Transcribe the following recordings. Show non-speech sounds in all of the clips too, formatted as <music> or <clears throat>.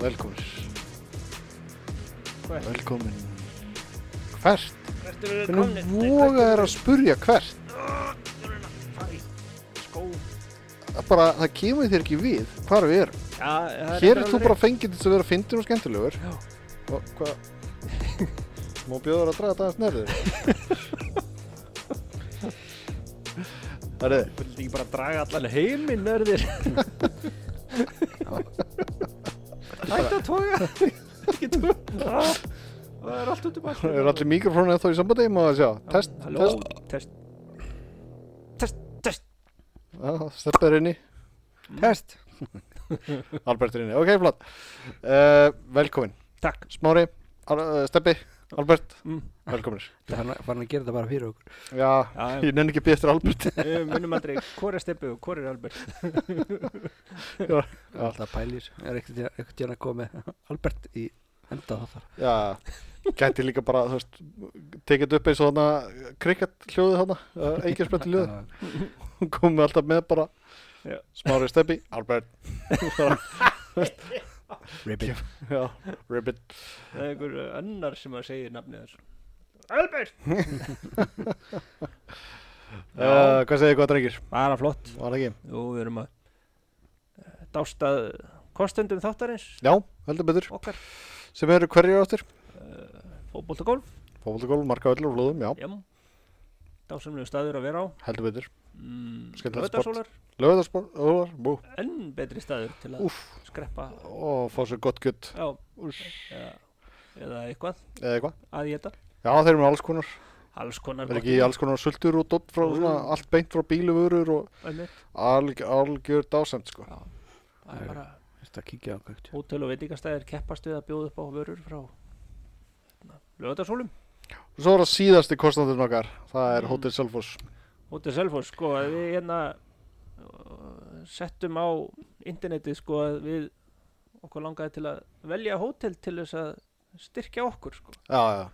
Velkomin Hvert? Velkomin Hvert? Hvert eru þið komnir? Hvernig voga er að spurja hvert? Skó. Það Bara, það kemur þér ekki við hvar við erum Já, það er Hér er þú bara fengið til að vera fyndin og skemmtilegur Já. Og hvað? Má bjóða þér að draga það aðeins nærður Það er Þú vilt ekki bara draga allan heiminn <laughs> nörðir. Hætt að toga. Ekki toga. Ah, Það er allt út um allt. Er allir mikrofónu eða þá í sambandi? Ég má það sjá Test, Halló. test Test. Test. Test. Já, Steppa er inni Test. Albert er inni Ok, flott uh, Velkomin Takk. Smári, Al uh, Steppi, Albert Mm. Velkominir <laughs> Það er farin að gera þetta bara fyrir okkur. Já, Já, ég nenni ekki að býja eftir Albert við munum aldrei hvor er Steppi og hvor er Albert. Já. Alltaf pælir. Er ekkert tíðan að koma með <laughs> Albert í enda þáttar. Já, gæti líka bara, þú veist, tekið þetta upp eins og þarna krikett hljóðið þarna, uh, eiginspjöldi hljóðið, Það hún komið alltaf með bara Já. smári steppi, <laughs> Albert, bara, Ribbit. já, ribbit, Það er einhver annar sem að segja nafnið þessu. Albert! uh, hvað segir þið hvað drengir, Bara flott. var það ekki? Jú, við erum að eh, dástað kostendum þáttarins Já, heldur betur, okkar. eh, sem eru hverjir áttir, Fótboltagolf, fófaldagólf, marka öllur og flóðum, já, já. Dásamlegu staður að vera á. heldur betur, Mm, Skemmtilegt Laugardalsólar, lögðarsport, ólar, bú, enn betri staður til að úff, skreppa. og fá sér gott gutt, Já, úss, eða, eða eitthvað eða eitthvað, að geta. já, þeir eru með alls konar, Alls konar. er ekki alls konar sultur og dott frá svona, Jú. allt beint frá bíluvörur og Önnur. alg, algjör dásemt sko Já, það Já. er bara er að kíkja á kvögt. hótel og veitingastæðir keppast við að bjóða upp á vörur frá hérna, lögðarsólum. Svo er það síðasti kostandinn okkar Það er Mm. Hotel Selfoss Hótel Selfoss, sko, að við hérna uh, settum á internetið, sko, að við okkur langaði til að velja hótel til þess að styrkja okkur, sko. Já, já,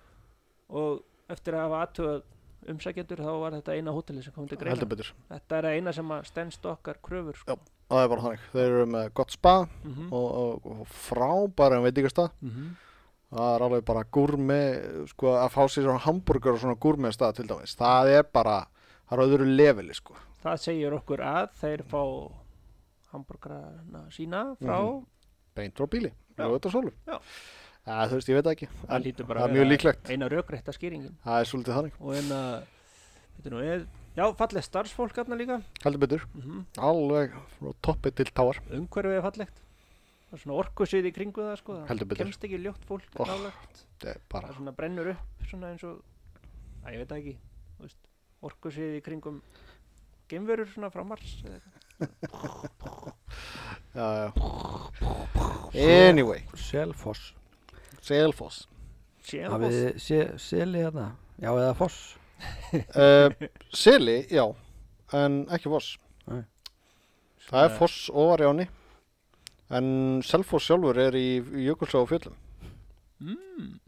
Og eftir að hafa aðtöð umsækjendur þá var þetta eina hóteli sem kom til heldur greina. betur Þetta er að eina sem að stendst okkar kröfur, sko. Það er bara þannig Þeir eru með gott spa Mm -hmm. og, og, og frábæra en veit ekki stað Það er alveg bara gúrmi sko, að fá sér svona hambúrgar og svona gúrmi stað til dæmis Það er bara Það er á öðru leveli sko Það segir okkur að þeir fá hambúrgrana sína frá, Mhm. Beint frá bíli Já. Ljóðu þetta sólu Já. Það, þú veist, ég veit það ekki það en, lítur bara Það að er mjög vera líklegt eina rökrétta skýringin. Það er svolítið þannig Og en að, veitum nú, er, já, fallið starfsfólk aðna líka. Heldur betur Mm Alveg frá toppi til táar umhverfið er fallegt það er svona orkusvið í kringu það sko Heldur það betur. kemst ekki ljótt fólk Oh. nálægt Það er það bara svona brennur upp svona eins og að ég veit það ekki þú veist, orkusvið í kringum geimverur svona frá Mars eða eitthvað. Já, já Anyway Selfoss. Selfoss Sjáum Hafið við þið sé- seli hérna? Já, eða foss. uh, Seli, já en ekki Foss Nei. það er Nei. Foss ofar í áni en Selfoss sjálfur er í Jökulsá og fjöllum en það Mm.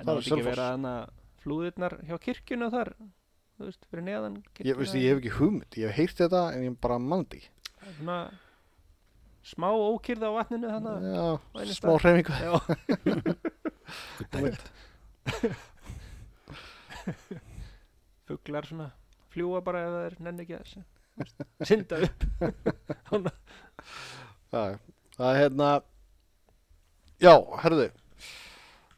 er er ekki Selfoss. vera hana flúðirnar hjá kirkjuna þar þú veist, fyrir neðan ég, veistu, ég hef ekki hugmynd, ég hef heyrt þetta en ég bara mandi Það er svona smá ókýrð á vatninu þannig já, á einu smá stað. hreifingu já, Good dælt. fuglar svona fljúa bara ef það er nenni ekki að <laughs> þessu synda upp það, er- það er hérna já, herðu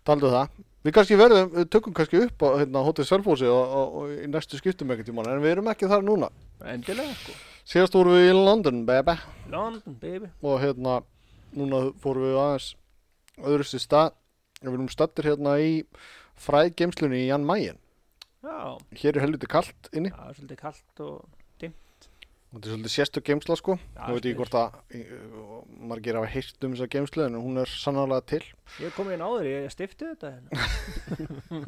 taldu um það Við kannski verðum, við tökum kannski upp á hérna, hótið Selfósi og, og, og í næstu skiptum ekkert tíma, en við erum ekki þar núna. endilega sko Síðast vorum við í London, baby. London baby og hérna núna fórum við aðeins öðrusti stað við erum stattir hérna í fræðgeimslunni í Jan Mayen já, hér er helviti kalt inni það er svolítið kallt og þetta er svolítið sérstök geimsla sko Já, nú veit ég spes. hvort að í- og margir hafa heyrt um þessa geimslu en hún er sannarlega til ég kom inn áður, ég stifti þetta hérna.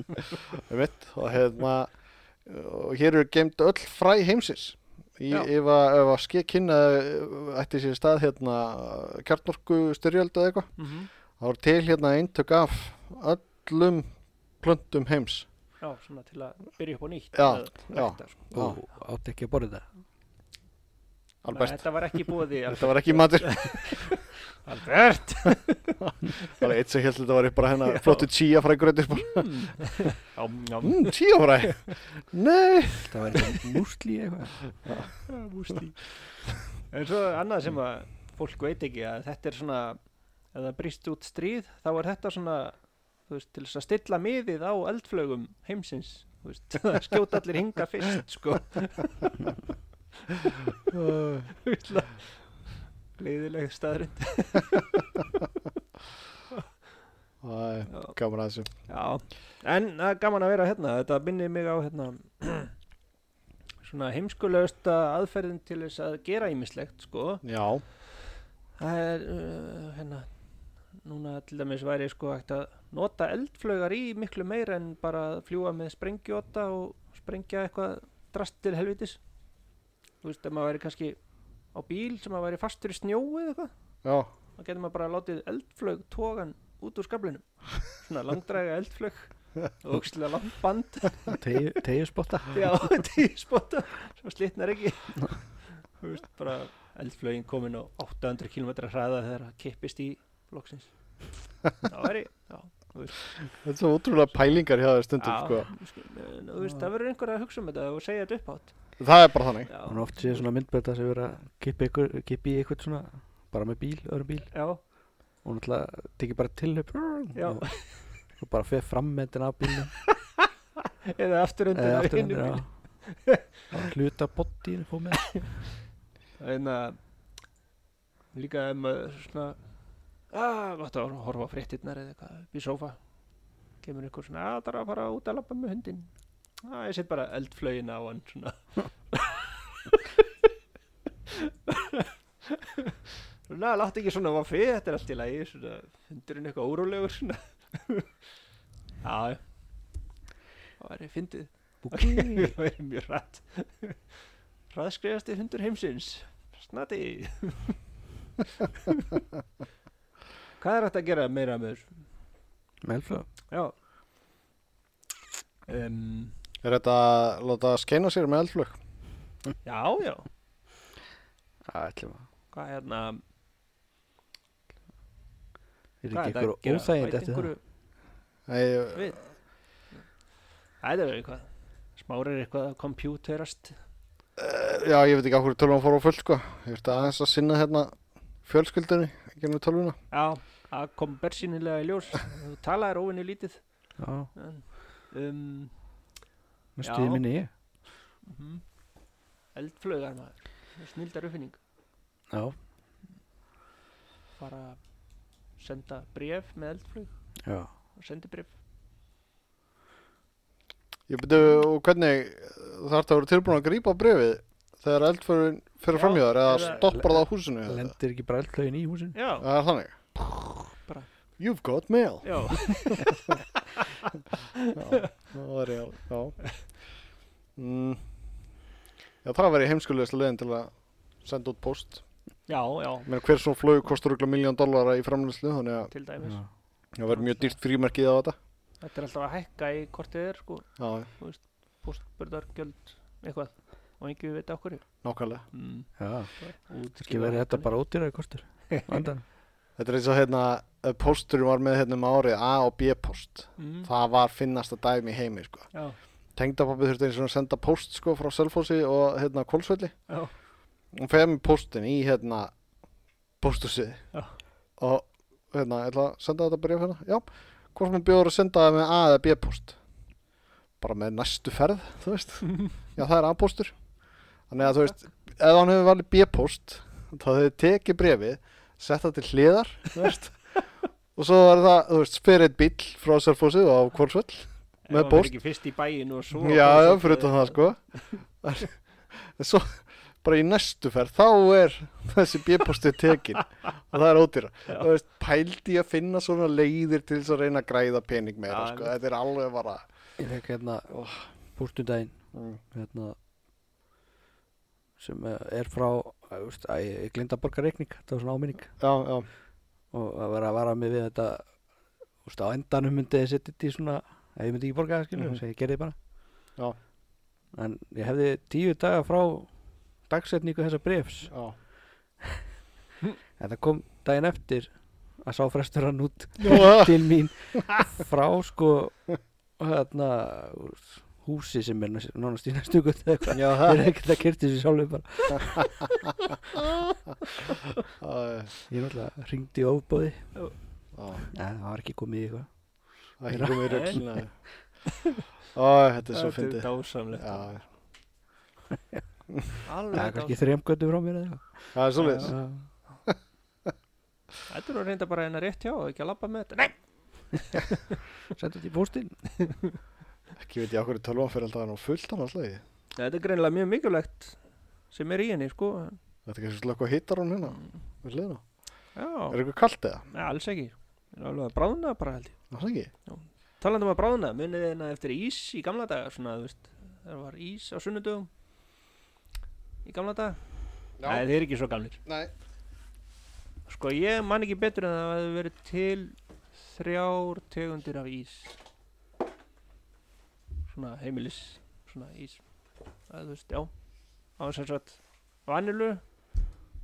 einmitt, og hérna og hér eru geimt öll fræ heimsins Í, Já. ef að, ef að skekkinna ætti sér stað hérna kjarnorku styrjöld eða eitthvað mm -hmm. þá er til hérna eintök af öllum plöntum heims já, svona til að byrja upp á nýtt Já, að rækta, sko. Já. Og átti ekki að borða þetta. Albert, Þetta var ekki búið í þetta var ekki matur <laughs> Albert Það var eitt sem held að þetta var bara hérna hennar Já. flottu tíja fræ gröðir Jám, jám mm, Tíja fræ Nei Það var eitthvað músli eitthvað Bústi En svo annað sem að fólk veit ekki að þetta er svona ef það brýst út stríð þá er þetta svona þú veist, til þess að stilla miðið á eldflögum heimsins þú veist, <laughs> það skjóta allir hinga fyrst sko leiðileg staðrind Æ, já, Gaman að þessu já. en það er gaman að vera hérna þetta minnir mig á hérna <clears throat> svona heimskulegasta aðferðin til þess að gera ímislegt sko Já, Það er, uh, hérna, núna til dæmis væri sko hægt að nota eldflögar í miklu meira en bara að fljúa með sprengjóta og sprengja eitthvað drast til helvitis. Þú veist, ef maður væri kannski á bíl sem maður væri fastur í snjói eða eitthvað, já, þá getur maður bara látið eldflög tógan út úr skaflinum. Svona langdraga eldflög og ókslega langt band, Tegjusbotta já, <laughs> tíspota, svo slitnar ekki. Þú veist, bara eldflögin komin á 800 km hraða þegar það kippist í loksins þá er ég já, þetta er svo ótrúlega pælingar hjá þér stundum já, sko. sko. þú veist, það verður einhver að hugsa um þetta og segja þetta upphátt Það er bara þannig Hún já, oft séð svona myndbönda sem verið að kippa, ykkur, kippa í eitthvað svona bara með bíl, öðrum bíl já, og náttúrulega tekið bara tilhaup Já. og, og bara feð frammyndin af bílnum eða aftur undir eða af aftur hinum hendur á bílnum. hluta boddínu fóð með en að hérna, líka ef maður svona að, gott að horfa á fréttirnar eða eitthvað upp í sófa kemur einhver svona "Ah, að, það er að fara út að labba með hundin að, ég set bara eldflögin á hann svona svona, látt ekki svona var fyrir, þetta er allt í lagi svona, hundurinn eitthvað órólegur svona <laughs> já, já það væri fyndið það væri mjög rætt hraðskriðasti hundur heimsins snati hvað er hægt að gera meira með þessu? með elflöð já um, Er þetta að láta skeina sér með eldflug? já, já Það ætlum að hvað er hérna hvað er ekki er þetta að einhver gera? óþægind Bæta eftir það einhverju- Nei, við Það er eitthvað Smárir eitthvað að kompjúterast já, ég veit ekki á hverju tölvan fór á full sko. Ég veist aðeins að sinna hérna fjölskyldunni gennum tölvuna. Já, það kom bersýnilega í ljós Þú talaðir óvinni lítið já, en, um, með Já. stuði minni ég mhm. Eldflögar maður Snildar uppfinning já, Fara að senda bréf með eldflög já, og sendi bréf Ég byrju, og hvernig þarf það að vera tilbúin að grípa brefið þegar eldflugin Já, fyrir framhjóðar eða eða- stoppar það á húsinu? eða- lendir ekki bara elflöðin í húsin Já, Það er þannig. Bara- You've got <laughs> mail. já, Já, það var ég á. Já. Mm. Já, það væri heimskulegast leiðin til að senda út post. já, já Menn hver svona flögu kostar okkur miljón dollara í framlýslu þannig að Til dæmis já, það verður mjög dýrt frímerkið á þetta. Þetta er alltaf að hækka í kortið er sko Já, Postbörðargjöld eitthvað og engin við veit okkur nákvæmlega. mm. já. ekki verið þetta bara ódýraði <laughs> kostur Vandan. Þetta er eins og hérna ef pósturinn var með hérna um árið A og B post. mm. Það var finnasta dæmi í heimi sko. Já, Tengdapappi þurfti eins og að senda post sko frá Selfossi og hérna Kolsvelli. já, Hún feði með póstin í hérna pósthúsið Já. og hérna, ég ætla að senda þetta bréf hérna. Já, hvort sem hún bjóður að senda það með A eða B post. Bara með næstu ferð, þú veist. Já, það er A-póstur. Þannig að þú veist, ef hann hefur valið B-póst, þá hefur tekið brefið, sett það til hliðar, þú veist, og svo er það, þú veist, spirit bíll frá Selfossi og á Kvolsvöll. Ef Með hann fer póst. ekki fyrst í bæin og svo Já, já, fyrir utan það, sko. En svo, bara í næstu ferð, þá er þessi B-póstu tekin og það er ódýra. Já. Þú veist, pældi ég að finna svona leiðir til þess að reyna að græða pening meira, Já, sko. Þetta er alveg bara... ég fekk hérna pústundaginn Mm. hérna, sem eh, er frá eh, veist, að ég, ég glinda að borga reikning þetta var svona áminning Já, já, og að vera að vara mig við þetta veist, á endanum myndi ég setja þetta í svona ef ég myndi ekki borga það skilur Mhm. sem ég gerði bara Já. en ég hefði tíu daga frá dagsetningu þessa brefs Já. en það kom daginn eftir að sá frestur hann <laughs> út Já. til mín frá sko hérna, úr húsi sem er næst- nánast í næstu gutt eða eitthvað <laughs> Já, Ég það er ekkert að kyrti sér sjálfur bara það er- Ég er alltaf hringdi í ofbóði já, Nei, það var ekki komið í eitthvað það er ekki komið í röggina. Æ, þetta er svo Þetta er fyndið. dásamlegt Já, Það Alveg er kannski dásamlegt þremgötu frá mér eða eitthvað það er svolítið. Já. Þetta er reynda bara hennar rétt hjá og ekki að labba með þetta Nei, Sendu þetta í póstinn Ekki veit ég okkur í tölvan fyrir alltaf hann á fullt hann alltaf í. þetta er greinilega mjög mikilvægt sem er í henni sko Mm. Þetta er kannski slökk og hittar hann hérna. Við hliðina. Já, Er eitthvað kalt eða? Nei, alls ekki Það er alveg að bráðna bara held ég Ná, það ekki. Talandi um að bráðna, munið þeirna eftir ís í gamla daga svona, þú veist Það var ís á sunnudögum Í gamla daga Nei, þeir eru ekki svo gamlir Nei. Sko, ég man ekki betur en það hefði verið til þrjár tegundir af ís Svona heimilis Svona ís Það þú veist, já Það var sem sagt vanilu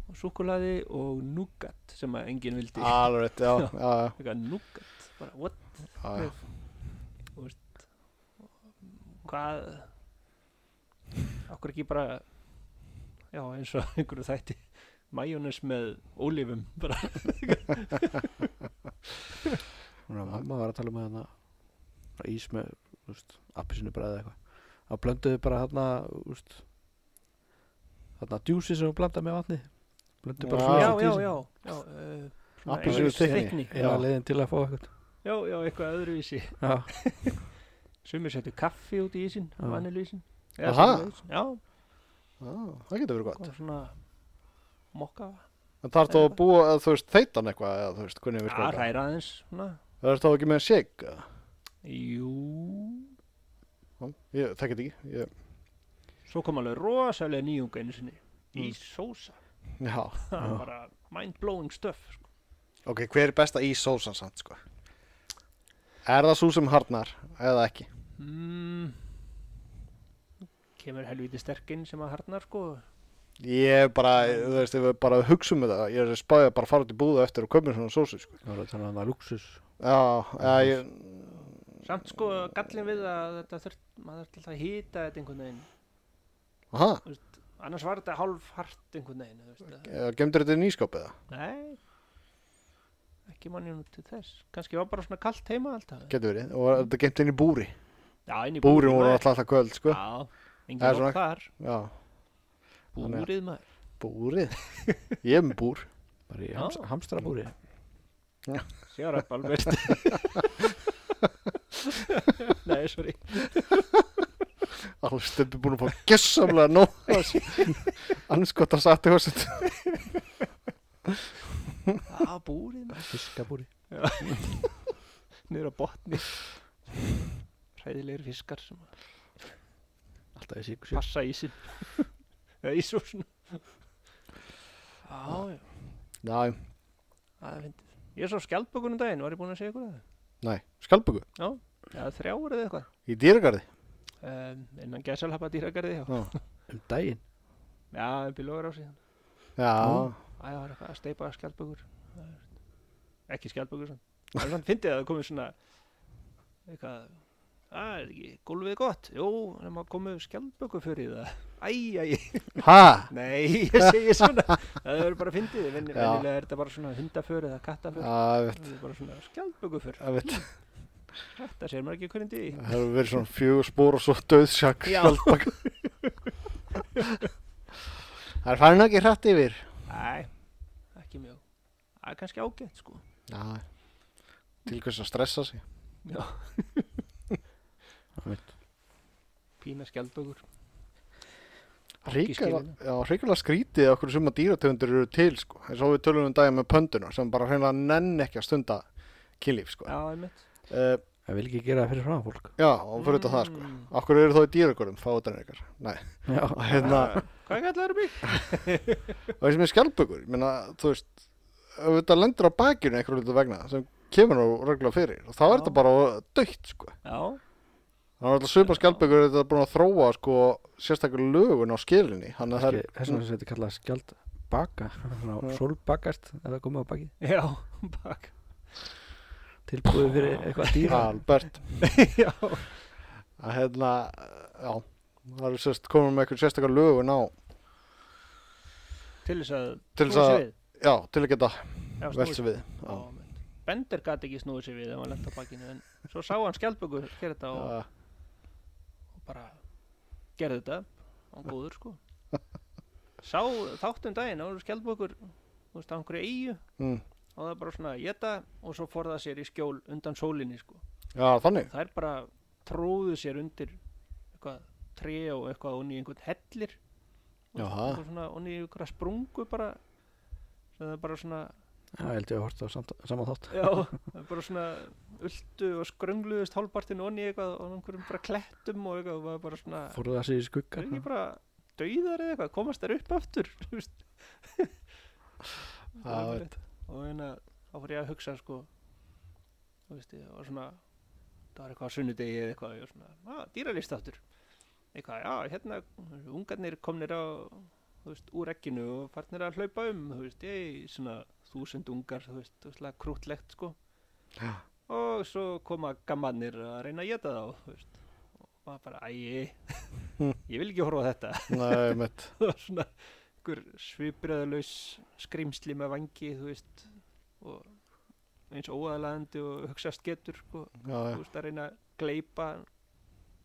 og súkkulaði og nougat sem að enginn vildi Alveg, rétt, já. Já. já, já, Eitthvað nougat, bara what já, já. hvað okkur ekki bara já eins og <laughs> einhverju þætti majónes með ólifum bara Hún var mamma var að tala með hana bara ís með, þú veist, appisinu bara eða eitthvað Það blönduðu bara þarna, þú veist þarna djúsi sem hún blanda með vatni blönduðu bara Já. já já svona já, já uh, svona Appelsínu einhver þykkni. Eða Já. leiðin til að fá eitthvað já já eitthvað öðruvísi Já, sumir settu kaffi út í ísin Já. vanilu ísin Aha. já Já, Það getur verið gott. og svona mokka En þarf þá að búa, eða, þú veist, þeitan eitthvað, eða, þú veist, hvernig að virkar þetta? ræra Ah, aðeins svona Það er þá ekki með shake? eða? jú Já, Ég þekki þetta ekki. Ég, svo kom alveg rosalega nýjunga einu sinni Mm. ísósa já. það Já. var bara mind blowing stuff sko. Ok, hver er besta í sósan samt, sko? Er það svo sem harnar eða ekki? Mm. Kemur helviti sterkinn sem að harnar sko Ég bara, þú veist, ef við bara hugsum með það, ég er að spája bara að fara út í búða eftir og köpum svona sósu, sko. það var að tala um það luxus Já, eða ég, Samt sko gallin við að þetta þurft, maður þurft alltaf að hýta þetta einhvern veginn aha, Annars var þetta hálf hart einhvern veginn þú veist, að- gemdur þetta í nýskáp eða? Nei Ekki manni nú til þess Kannski var bara svona kalt heima alltaf Getur verið, og er þetta gemt inn í búri. Já, inn í Búrin búrið, voru maður. alltaf alltaf köld, sko. Já, engin Það er var svona- þar Já, Þannig að- Búrið maður búrið. Ég er með búr. bara í Já. hams, hamstrabúri Sjára upp alveg <laughs> Nei, sorry Alveg stundum búin að fá gessamlega nóg. Annars gott að satt í hossund. Já, búrið maður fiskabúri niður á botni hræðilegir fiskar sem að alltaf í sík passa í sín <laughs> eða í svo svona já, já, Já, það er fyndið ég er svo skjaldbökunum daginn, var ég búinn að segja ykkur það næ, skjálpöku. eða þrjáur eða eitthvað Í dýragarði. um, innan gæsalhapa dýragarði já, Já, um daginn já upp í logar á sig já. Nú. það var eitthvað að steipa skjaldbökur Það er- ekki skjaldbökur svona. það er svona fyndið að það komið svona eitthvað Það er ekki, gólfið gott, jú, en maður komið skjaldböku fyrir það. Æ, æ, æ. Hæ? Nei, ég segi <laughs> svona Það er bara fyndið, Ven, Já. venjulega er þetta bara svona hundaför eða kattaför Já, ég veit, Það er bara svona skjaldbökuför ég veit. Þetta sér maður ekki hvernig dí Það hefur verið svona fjögur spór og svo döðsjak Já. skjálpöku. Það er farin ekki hrætt yfir. Nei, ekki mjög Það er kannski ágætt sko Já, til hvers að stressa sig. Já. Einmitt. Pína skjaldbökur Ríkala, skilina. já, ríkala skrítið okkur sem að dýrategundur eru til sko. eins og við tölum um daginn með pönduna sem bara hreinlega nenn ekki að stunda kynlíf sko. Já, einmitt Uh, það vil ekki gera það fyrir frá fólk já, og fyrir þetta það sko. Mm. Okkur eru þá í dýragurum, fáutan ykkar <laughs> Nei, Já. og hérna, Hvað kallar mig? og eins með skjálpökur ég meina, þú veist, auðvitað lendur á bakinu einhverju hlutu vegna sem kemur nú regla fyrir og þá er Já. þetta bara dögt sko. Já, Það var alltaf svipa skjaldbökur þetta búin að þróa sko sérstaklega lögun á skilinni hann að það Mm. Kannski- Þess vegna sem þetta kallað skjald baka Já. Sólbakast ef það komið á baki já, <laughs> bak Tilbúið fyrir eitthvað er dýra albert já, að hérna, já það er sérst komin með eitthvað sérstaklega lögun á til þess að til þess snúa að, sér við. já, til að geta Já, snúa velt sér sér við Já, já, menn. Bender gæti ekki snúið sér við ef hann lent á bakinu en svo sá hann skjaldböku gera þetta og, já, og bara gerði þetta hann góður sko sá þáttum daginn og skjaldbökur þú veist á einhverju eigu mm, og það er bara svona að geta og svo fór það sér í skjól undan sólinni sko já, þannig þær bara tróðu sér undir eitthvað tré og eitthvað onni í einhvern hellir og Jaha. eitthvað svona onni í einhverja sprungu bara sem það er bara svona Já, ég held ég að horta á samt, saman þátt Já, það er bara svona ultu og skröngluðust hálfpartin onni í eitthvað og einhverjum bara klettum og eitthvað og var bara svona, Fóruð það sig í er skuggan ekki bara dauðar eða eitthvað, komast þær upp aftur <laughs> þú veist. Já, veit. og hérna þá fór ég að hugsa sko þú veist, það var svona það var eitthvað á sunnudegi eða eitthvað og ég var svona, að, dýralist aftur eitthvað, já, hérna, ungarnir komnir á þú veist, úr ekkinu og farnir að hlaupa um, þú veist, ég svona þúsund ungar, þú veist, þú veist, krútlegt sko Já. og svo koma gammanir að reyna að geta þá, þú veist og maður bara, æi, Hmm. ég vil ekki horfa á þetta Nei, mitt, <laughs> það var svona einhver svipriðalaus skrimsli með vangi, þú veist og eins óaðlaðandi og hugsaðst getur, sko já, já, þú veist, að reyna að gleypa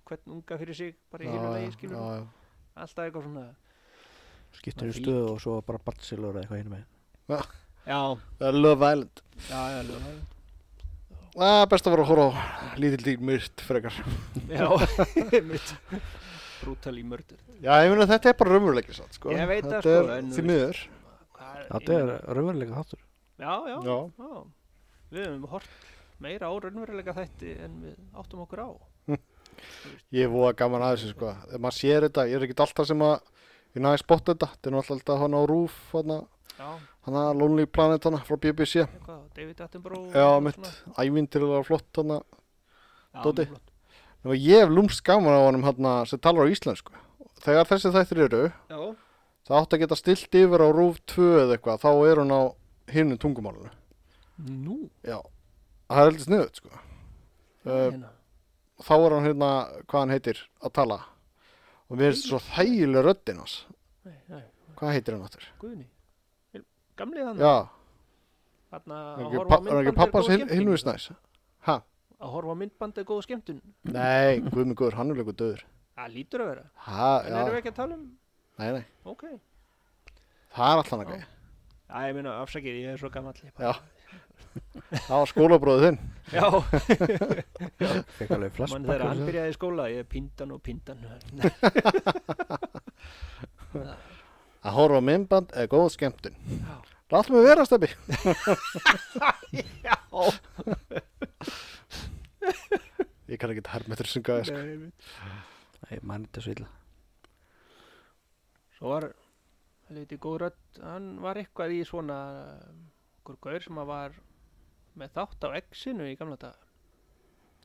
hvern unga fyrir sig, bara í já, hinu já, lagi, skilur já, já. alltaf eitthvað svona Skiptir Maður í stöðu og svo bara batsilur eða eitthvað hinn með já, Það er Love Island já, já, já, Það er best að vera að horfa á lítil dýr myrt frekar <laughs> já mitt brútal í mördur Já, ég meina þetta er bara raumurleiki satt, sko Ég veit það, Þetta sko, er en þú því veist- miður Hvað Þetta er raunveruleika <laughs> þáttur já, já, já, Já, við höfum hort meira á raunveruleika þætti en við áttum okkur á ég er voða gaman að þessu, sko Þegar maður sér þetta, ég er ekki alltaf sem að ég næði spott þetta, þetta er náttúrulega alltaf hann á Rúf hann já, að Lonely Planet hann frá BBC eitthvað, David Attenborough Já, og mitt, svona. ævindirlega flott hann Já, Dóti. mjög flott. Nú, ég hef lúmst gaman á honum hann sem talar á íslensku. Þegar þessi þættir eru, já, það átt að geta stilt yfir á rúf 2 eða eitthvað, þá er hún á hinnu tungumálunu. nú Já, það er heldur sniðut, sko. Uh, hérna. þá er hann hérna, hvað hann heitir, að tala. Og mér finnst svo þægileg röddinn hans. nei, nei, Hvað heitir hann áttur? Guðni Vil- gamli hann Já, þarna er að ekki horfa á pa- er ekki myndbandið pappas góð skemmtun hinnuvisnæs? Hæ? að horfa á myndbandið góð skemmtun Nei, guð mig guður, hann er leikur döður. það lítur að vera Hæ, en erum við já, ekki að tala um nei, nei, ok já, það er allan að Já. gæja. ég meina afsakið ég er svo gammal Já. Það var skólabróðið þinn. já Fekk alveg mann þegar hann flashback byrjaði í skóla ég pindan og <laughs> pindan Að horfa á myndband er góð skemmtun. Já. Láttum við vera, Steppi. já Ég kann ekki hermetur sunga sko. Nei, einmitt. Nei, mann þetta svo illa svo var helviti góð rödd hann var eitthvað í svona um, einhver gaur sem að var með þátt á X-inu í gamla dag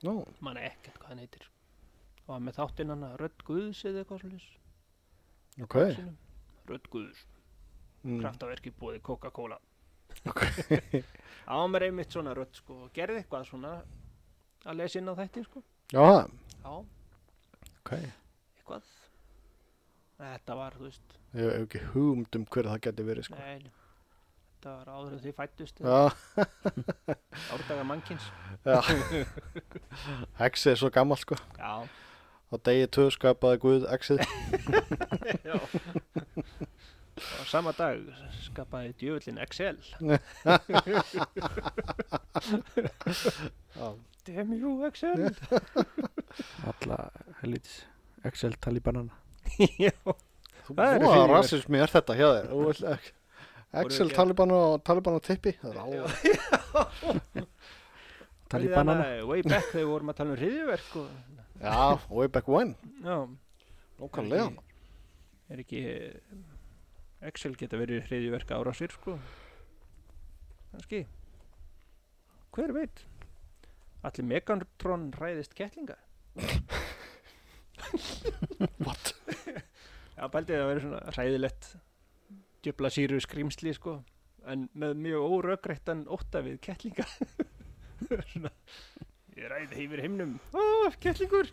Nú, manna ekkert hvað hann heitir og hann með þáttinn hann að Rödd Guðs eða eitthvað svolítið ok. sínum Rödd Guðs, Mm. kraftaverki búið Coca-Cola <laughs> Ok. Það var mér einmitt svona rödd sko og gerði eitthvað svona að lesa inn á þetta sko Já, það. Já, ok. eitthvað Þetta var, þú veist, Ég hef ekki hugmynd um hver það geti verið, sko. nei Þetta var áður en því fættust Já, árdaga mannkins exið er svo gammal, sko. Já, Á degi tvö skapaði Guð exið. já Og sama dag skapaði djöfullin Excel Já. Damn you Excel Alla helvítis Excel talibanana Já, Þú <laughs> Það er búið að hryðjuverk. rasismi er þetta hjá þér. Þú vill ekki. Excel, ekki að- Taliban og Taliban og Tippi. Það er alveg. Talibanana Þannig að Way back þegar við vorum að tala um hriðjuverk og Já, way back when. Já, Nókanlega. er ekki eh, Excel geta verið hriðjuverka árásir sko kannski hver veit allir Megatron ræðist kettlinga What? <laughs> Já, bældið að vera svona hræðilegt djöfla síru skrýmsli sko en með mjög órökreittan ótta við kettlinga <laughs> svona ég ræði yfir himnum Ó, kettlingur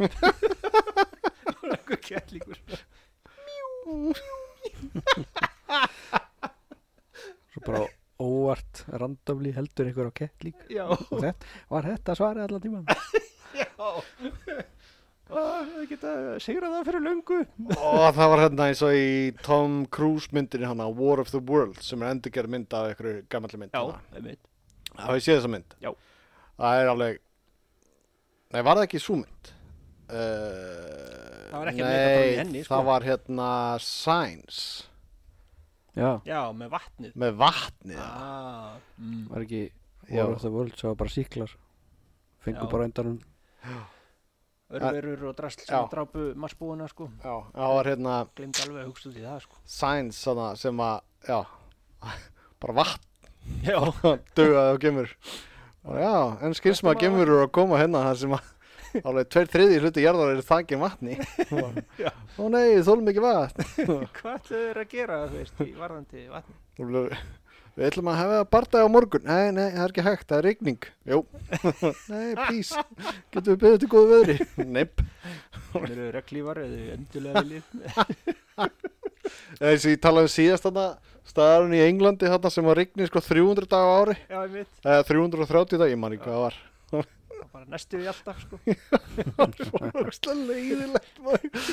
<laughs> Einhver kettlingur Svo bara óvart randamli heldur einhver á kett líka Já, Og þetta, var þetta svarið allan tíman já Ó, við geta sigra það fyrir löngu Og það var hérna eins og í Tom Cruise myndinni hana War of the World sem er endurgerð mynd af einhverju gammalli mynd Já, hana. einmitt Það ég séð þessa mynd Já. Það er alveg Nei, var það ekki svo mynd? Uh, Það var ekki að leika bara í Nei, henni, sko. það var hérna Signs Já, Já, með vatnið með vatnið ah, mm. var ekki Já. War of the World, svo var bara síklar Fengu Já. bara endanum Örverur og drasl sem Já. drápu marsbúina sko Já, það var hérna Gleymd alveg að hugsa út í það sko Signs hana, sem að Já, <laughs> bara vatn Já, dugaði á gemur og já, en skilsma gemur eru að koma hérna þar sem að alveg tveir þriði hluti jarðar eru þakin vatni <laughs> Já. Ó nei, þólum ekki vatn <laughs> hvað ætlaðu þeir að gera þú veist í varðandi vatni Þú blöður, <laughs> Við ætlum að hafa barndagi á morgun. Nei, nei, það er ekki hægt, það er rigning. Jú. <laughs> nei, please. Getum við beðið til góðu veðri? <laughs> Neip. Þeir eru reglívar eða endilega viljið Þessi ég talaði um síðast þarna, staðarinn í Englandi þarna sem var rigning sko 300 dag á ári. <laughs> Já, ég mitt, Eða 330 dag, ég man ekki hvað það var. það bara næstu því alltaf <laughs> sko Rókslega leiðilegt maður.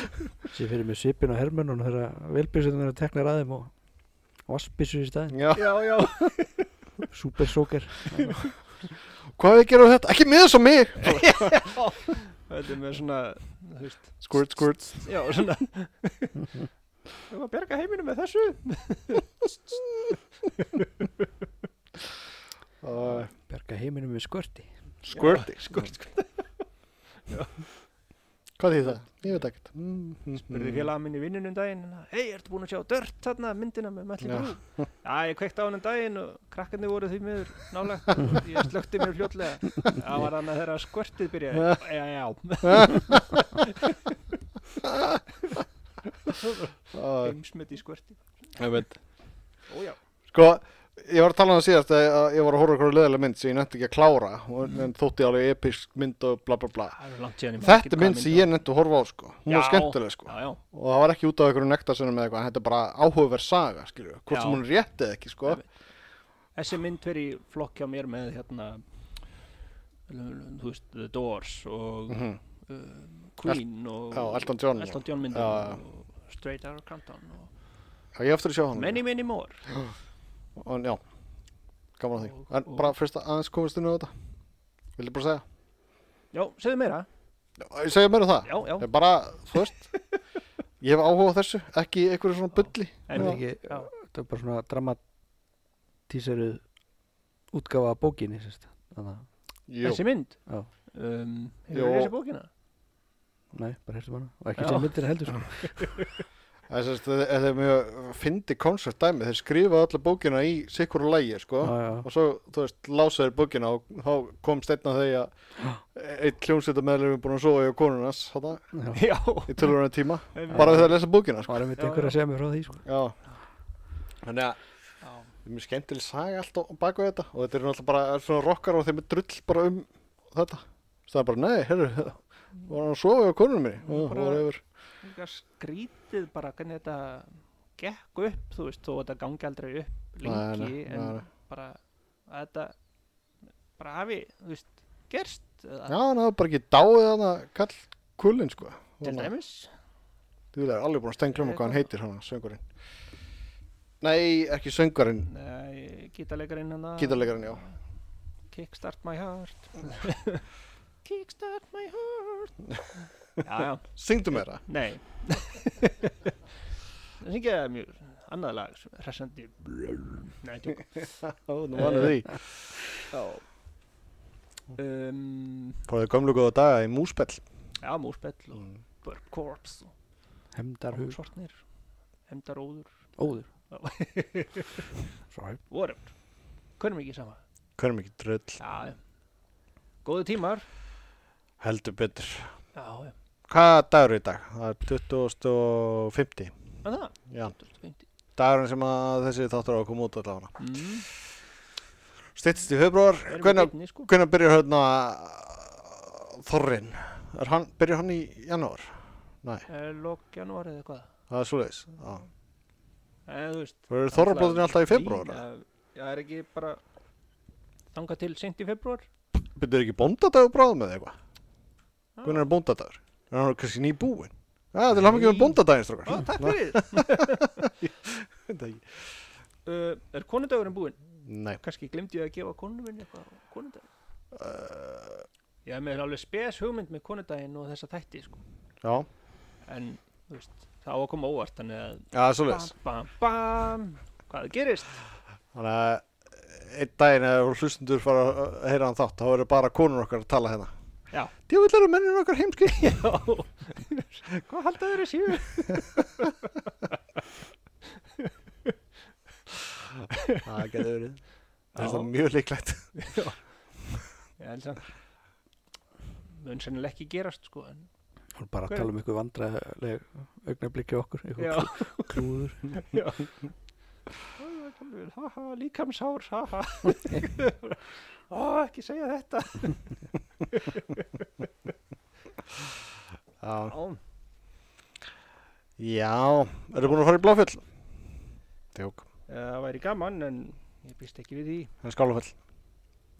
Sér fyrir með svipin á hermönun Þegar velbyrðsinn er að tekna ræðum og Vassbyrðsinn í staðin, Já. Já, já, super <laughs> sóker Hvað við gerum þetta? Ekki með þess að mig. þetta er með svona, þú veist Squirt, squirt. Já, svona <laughs> Við varum að berga heiminu með þessu Uh, Berga heiminum við skvörti squirti. Skurt, <laughs> skurt Hvað þýð það? Ég veit ekkert. Mm, mm, Spurði mm. félaga minn í vinnunum um daginn Hei, ertu búin að sjá dört þarna myndina með Mötli Já. Brú? Já, ég kveikti á hann um daginn og krakkarnir voru því miður <laughs> nálægt og ég slökti mér fljótlega Það var hann að þeirra skvörtið byrjaði Já, já, já, Uh, heimsmet í skvörti ég veit. Ó já, Sko, ég var að tala um það síðast að að ég var að horfa okkur leðilega mynd sem ég nætti ekki að klára Mhm. og, en þótti alveg episk mynd og bla bla bla það er langt síðan ég man Þetta ekki er hvaða mynd sem ég nætti að horfa á sko hún var Já. skemmtileg sko það var. Já, já, og það var ekki út af einhverju nektarsunum eða eitthvað þetta er bara áhugaverð saga skilju hvort Já. sem hún er rétt eða ekki sko Einmitt. þessi mynd verið í flokk hjá mér með hérna þú veist, The Doors og Mhm. uh, Queen og Já, Elton John og- Elton John myndir Já, já. og Straight Outta Compton og Já, ég á eftir að sjá hann many many more og, Já, gaman að því Og- En og- bara fyrst að aðeins komast inn á þetta Vildu bara segja? já, segðu meira, Já, Ég segja meira um það já, já Ég bara, þú veist Ég hef áhuga á þessu, ekki einhverju svona bulli Það er en, ekki, Já. þetta er bara svona dramatíseruð útgáfa af bókinni, sérst. Þannig að, Jú, þessi mynd Já. um, Jú. hefur þú lesið bókina? nei, bara hertum hana. Og ekki Já. sem myndir heldur, sko. Það er mjög fyndi koncept dæmi, þeir skrifa alla bókina í sikkur lægi, sko Já, já, og svo, þú veist, lása þeir bókina og þá komst einn af þeir að eitt hljómsveita meðlum er búin að sofa hjá konunas þarna, já. <laughs> já, í tölvörna tíma einmitt. bara við það að lesa bókina, sko Það var einmitt Já, einhver já. að segja mér frá því, sko. Já, þannig að já, það er mjög skemmtileg saga allt á baku þetta og þetta er náttúrulega bara er svona rockar og þeim er drull bara um þetta það er bara, nei, herru, var hann að sofa hjá konunum minni og það var yfir líka skrítið bara hvernig þetta gekk upp, þú veist, þó að þetta gangi aldrei upp Nei, lengi, nei, en nei, nei. bara að þetta bara hafi, þú veist, gerst Já, eða, hann hafði bara ekki dáið hann að kall kullin, sko til Þannig að- dæmis Þú er alveg búin að stengla um hvað hann heitir hann, söngurinn. Nei, ekki söngurinn, Nei, gítarleikarinn hann gítarleikarinn, já. Kickstart my heart Kickstart my <laughs> heart Já, já, Syngdu mér það. nei Það syngja mjög annað lag, sem er hressandi Nei, tjók Ó, nú vanuð því. Já um, Fóruðu gömlu góða daga í múspell. Já, múspell og Burp Corps og Hemdar hug, Svartnir Hemdaróður óður. Já. <laughs> Svo, Whatever Hvernig mikið sama Hvernig mikið drull. Já, já Góðu tímar Heldur betur. Já, já hvað dagur er í dag? Það er 2050 Er það? Já, 2050. dagurinn sem að þessi þáttur á að koma út allavega Mm. Stittist í februar, Erum við hvenær beinni, sko? hvenær byrjar hérna Þorrin? Er hann, byrjar hann í janúar? Nei, Eh, Lok janúar eða eitthvað. það er svoleiðis Já. En Eh, þú veist. Verður þorrablóðin alltaf í februar? Já, Já, er ekki bara þangað til sent í februar? Byrjar ekki bóndadagur bráðum eða eitthvað? Já. Hvernig er bóndadagur? Er hann kannski nýbúinn? Já, til hann ekki með Nei. bóndadaginn, Ó, strókar. takk fyrir. fyrir. Uh, er konundagurinn búinn? Nei. Kanski glemdi ég að gefa konunum minni eitthvað á konundaginn. Ég hef með alveg spes hugmynd með konundaginn og þessa þætti, sko. Já, En, þú veist, það á að koma óvart, þannig að já, svoleiðis. bam, bam, hvað gerist? Þannig að eh, einn daginn ef hlustundur fara að heyra hann þátt, þá eru bara konur okkar að tala hérna. Já. Djúvill eru mennir okkar heimski. <laughs> Já, hvað haldaðu þeir að séu? Það getur verið. Það er Já. það mjög líklegt. Ég held samt, mun sennilega ekki gerast, sko. En, Hún bara að Hver- tala um ykkur vandræðileg augnablikki okkur, ykkur já, klú- klúður já. Ó, það er gamli vel, Haha, líkamsár, haha. Ó, ekki segja þetta. Já. Já, Já, eru búin að fara í Bláfjöll? Tjók. Eh, það væri gaman, en ég býst ekki við því. En Skálafjöll?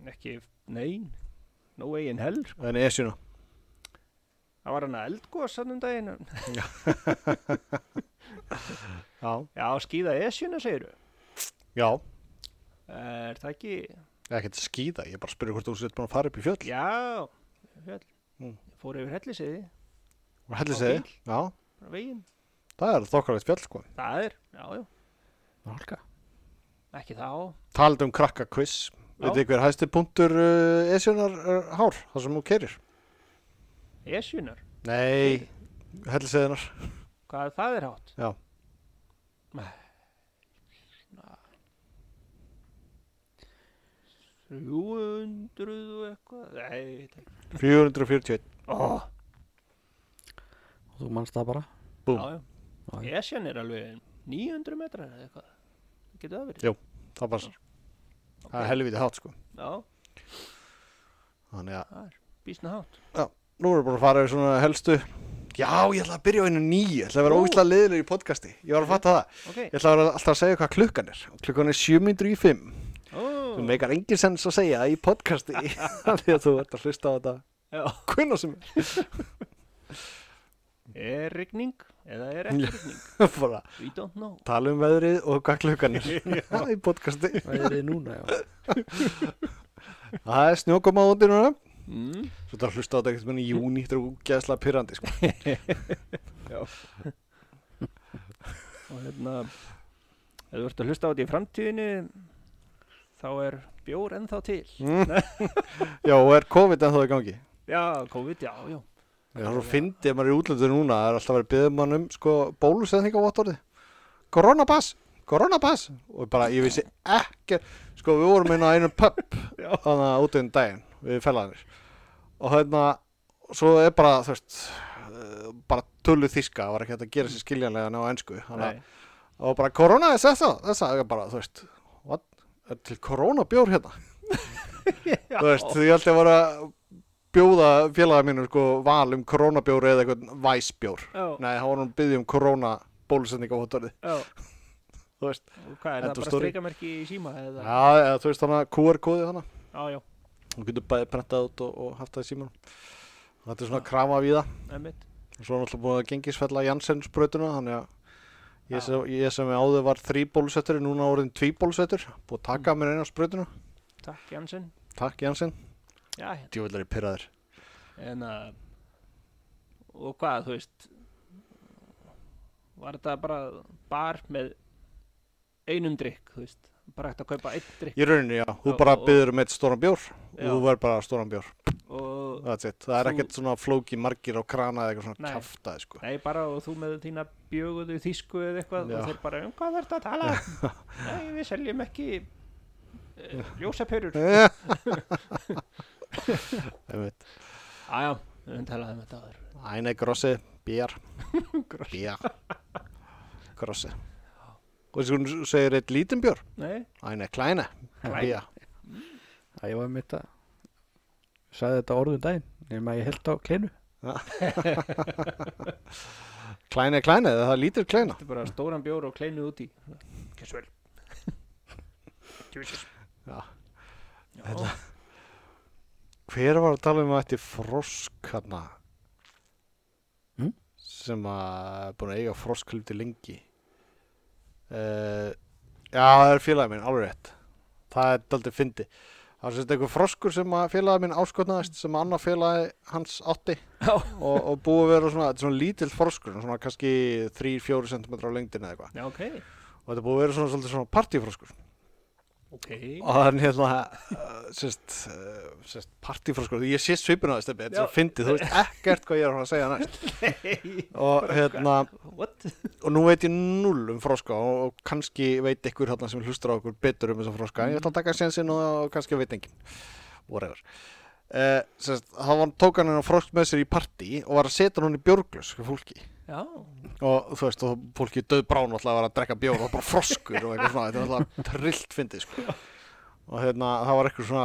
Ekki, nein, no way in hell, sko. En Esjuna? Það var hann að eldgóða sannum daginn. en- Já. Já, skýða esjuna, segir du. Já, Er það ekki, ekkert skýða, ég er bara að spyrja hvort þú sétt búin að fara upp í fjöll. já, hell. Mm. Ég fór yfir helliseiði, Og hellir segi, bíl? já, bara veginn. það er þokkarlegt fjöll sko. Það er, já, já, Hálka ekki þá, Talandi um krakka quiz, Já. veit þið hver hæsti punktur uh, Esjunar uh, hár, þar sem hún kerir? Esjunar, Nei, hellir seginar. hvað það er hátt? Já. Nei, svona 300 og eitthvað, nei, ég veit ekki. 441. Ó, Og þú manst það bara Búm. já, Já, já, Esjan er alveg 900 metrar eða eitthvað, getur það verið? Já. Það passar. Það er helviti hátt sko. Já, Þannig að það er bísna hátt. nú erum við búin að fara yfir svona helstu. Já, ég ætla að byrja á einu nýju, ég ætla að vera Ú. ógíslega leiðileg í podcasti. Ég var að fatta það. Ég Ok, ætla að vera alltaf að segja hvað klukkan er. Og Klukkan er 7.05. ó, Þú meikar engin sens að segja í podcasti <laughs> af því að þú ert að hlusta á þetta já, hvernig sem er. er rigning eða er ekki rigning, <laughs> bara we don't know. tala um veðrið og hvað klukkan <laughs> er í podcasti. það er þið núna, já Það er snjókoma úti núna. Mm. Svo þetta hlusta á þetta eitthvað í júni, þetta er úgeðslega pyrrandi sko. og hérna ef þú ert að hlusta á þetta í framtíðinu þá er bjór ennþá til Mm. Já, og er COVID en þá í gangi. já, COVID, já, já Það er svo fyndið ef maður er í útlöndu núna, það er alltaf verið byggðum mann um sko bólusetning á vottorði. Koronapass, koronapass og bara ég vissi ekki, sko við vorum inn á einum pub <laughs> Já. þannig að út um daginn við fellaðinir og hérna, svo er bara þú veist, eh, bara tullu þíska, var ekki hægt að gera sér skiljanlega á ensku, þannig að Nei. og bara korona er þessa, þessa, ég bara, þú veist what, er til koronabjór <laughs> hérna Já. þú veist, ég held ég var að bjóða félaga mínu sko val um koronabjór eða eitthvað væsbjór já, nei, hann var nú að byggja um korona bólusending á hóttorði, já, þú veist og hvað er End það of bara story. streikamerki í síma eða, já, eða, þú veist þannig að QR-kóði þannig já, já, hún getur bæði prentað út og, og haft það í símanum þetta er svona krafa við það emmitt og svo er náttúrulega búin að gengisfella Janssen spröytuna þannig að Já. ég sem, ég sem áður var þrý bólusettur er núna orðin tví bólusettur búið að Mm. taka mér eina spröytuna takk Jansson, takk Janssen, já, hérna djúvillar í pyrraðir en að og hvað, þú veist var þetta bara bar með einum drikk, þú veist bara hægt að kaupa einn drikk í rauninni já, þú Já, bara og- byður um eitt stóran bjór og Já. þú verð bara stóran bjór og, That's it. Það er Þú- ekkert svona flóki margir á krana eða eitthvað svona Nei. kjaftaði sko. Nei, bara og þú með þína bjöguðu þýsku eða eitthvað Já. og þeir bara, um hvað verður að tala? Nei, við seljum ekki uh, ljósapörur. Einmitt. sko. <laughs> Æja, við höfum talað um þetta áður. Eine grosse <laughs> Bier. Gross. Bier. Grosse. Og þessi hún segir eitt lítinn björ. Nei, Eine kleine. Bier. að ég var mitt að sagði þetta orðum daginn nema ég held á kleinu Kleine, kleine. Það er lítil kleina. þetta er bara stóran bjór og kleinuð út í Kess vel Djúsis Já. Já, Hver var að tala um að þetta frosk hérna? Mm? Sem að er búin að eiga frosk hluti lengi. Uh, já, það er félagi minn, alveg rétt. Það er daldið fyndi. Það er sérst einhver froskur sem að félagi minn áskotnaðist sem annar félagi hans átti Já. og, og búið að vera svona, þetta er svona lítill froskur, svona kannski 3-4 cm á lengdina eða eitthvað. já ok Og þetta er búið að vera svona, svona, svona partífroskur Ok og hann hérna uh, sérst, uh, sérst partífroskur ég sé svipin á þessu stefni, þetta er Já. svo fyndið þú veist ekkert hvað ég er að fara að segja næst og hérna, What? og nú veit ég null um froska og, og kannski veit ykkur hérna sem hlustar á okkur betur um þessa froska ég ætla að taka sénsinn og, og kannski veit enginn whatever uh, sérst, þá var- tók hann hennar frosk með sér í partí og var að setja hann í björglös fyrir fólki Já, og þú veist, og fólki döð brán alltaf að vera að drekka bjór og bara froskur og eitthvað svona, þetta var alltaf trillt fyndið sko. og hérna, það var eitthvað svona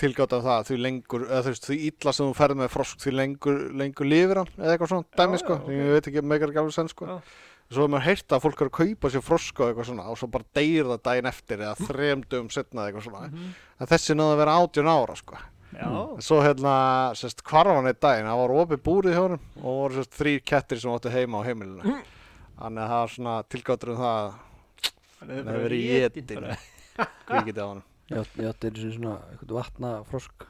tilgátt af það, því lengur eða þú veist, því illa sem þú ferð með frosk því lengur, lengur lifir hann, eða eitthvað svona dæmi já, sko, ok. ég veit ekki, megar ekki alveg senn sko Já. svo hefur maður heyrt að fólk er að kaupa sér frosk og eitthvað svona, og svo bara deyr það daginn eftir eða þremdum setna eða eitthvað svona Mhm. en þessi náðu að vera átjón ára sko já, svo hérna, sérst, hvarf hann eitt daginn það var opið búrið hjá hann og voru sérst þrýr kettir sem áttu heima á heimilinu þannig að það var svona tilgáttur um það hann hefði að bara það verið étinn étin bara. kvikið á hann ég átti, ég átti einu sinni svona eitthvað vatna frosk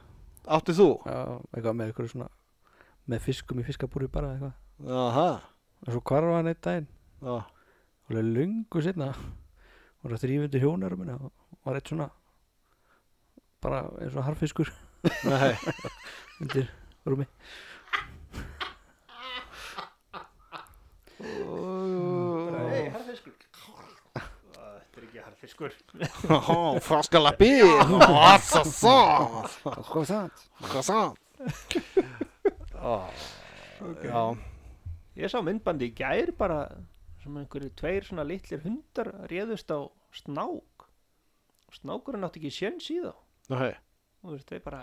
Áttu þú? já, eitthvað með eitthvað svona með fiskum í fiskabúri bara eitthvað Aha og svo hvarf hann einn daginn Já, og alveg lungu sinna og það þrýfundi hjónarum minna og var eitt svona bara eins og harfiskur <laughs> nei, undir rúmi Bara, Hey, harðfiskur Þetta er ekki harðfiskur <laughs> Ó, <laughs> froskalabbi Ó, svo svo hvað var það? Hvað svo Ó, Já, Ég sá myndbandi í gær bara sem einhverju tveir svona litlir hundar réðust á snák snákurinn átti ekki sjöns í þá nei og þú veist, þeir bara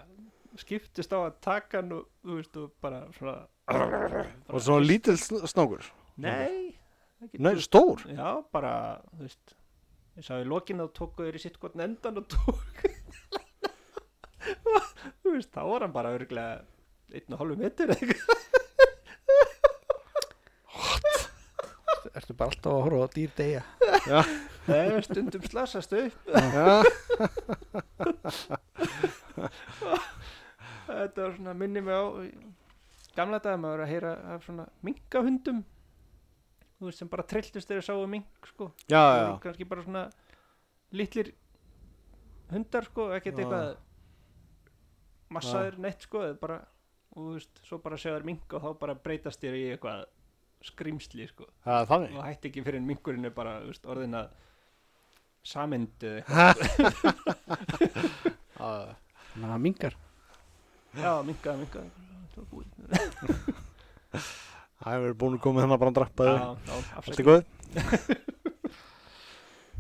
skiptist á að taka hann og þú veist, og bara svona bara, Og svona lítill sn- snákur Nei, ekki Nei, stór Já, bara, þú veist ég sá í lokin að tóku þeir í sitt hvort endan og tók <laughs> þú veist, þá var hann bara örglega einn og hálfu metur eða eitthvað Ertu bara alltaf að horfa á dýr deyja? Nei, stundum slasast upp Já, <laughs> Þetta var svona minni mig á gamla daga maður að heyra af svona minkahundum þú veist sem bara trilltust þegar sáu mink sko já, já Það voru kannski bara svona litlir hundar sko ekkert Já. eitthvað massaður neitt sko eða bara og þú veist svo bara séður mink og þá bara breytast þér í eitthvað skrýmsli sko Það er þannig og hætti ekki fyrir en minkurinn er bara þú veist, orðin að samyndu Já, já. Þannig að hann mingar já minkaði minkaði það var búið. Það hefur verið búin að koma með hennar bara að drappa Já, þig já, Allt í afsakið. góð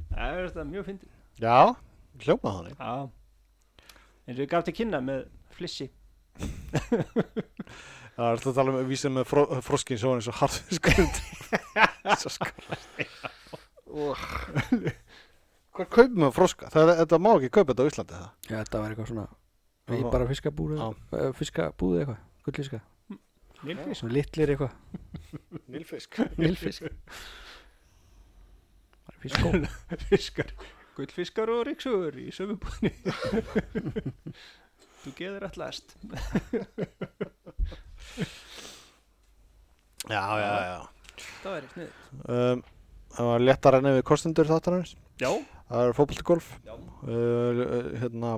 Það er þetta mjög fyndið Já, hljómað þannig Já eins og ég gaf til kynna með flissi Það er alltaf að tala um að vísa með fró, froskin svo hann eins og harðfiskund <laughs> Svo skalast Hvað kaupir maður froska? Það, er- þetta má ekki kaupa þetta á Íslandi það Já, þetta var eitthvað svona Já. Í bara fiskabúri Já. uh, Fiskabúði eitthvað Gullíska Nilfisk Svona litlir <laughs> eitthvað Nilfisk Vilfisk Bara <laughs> Fiskó Fiskar Gullfiskar og ríksugur í sömu búinni <laughs> Þú geður all last Já, já, já Það væri snið um, Það var léttar enn við kostendur þáttanarins Já, Það er fótboltagolf já uh, Hérna,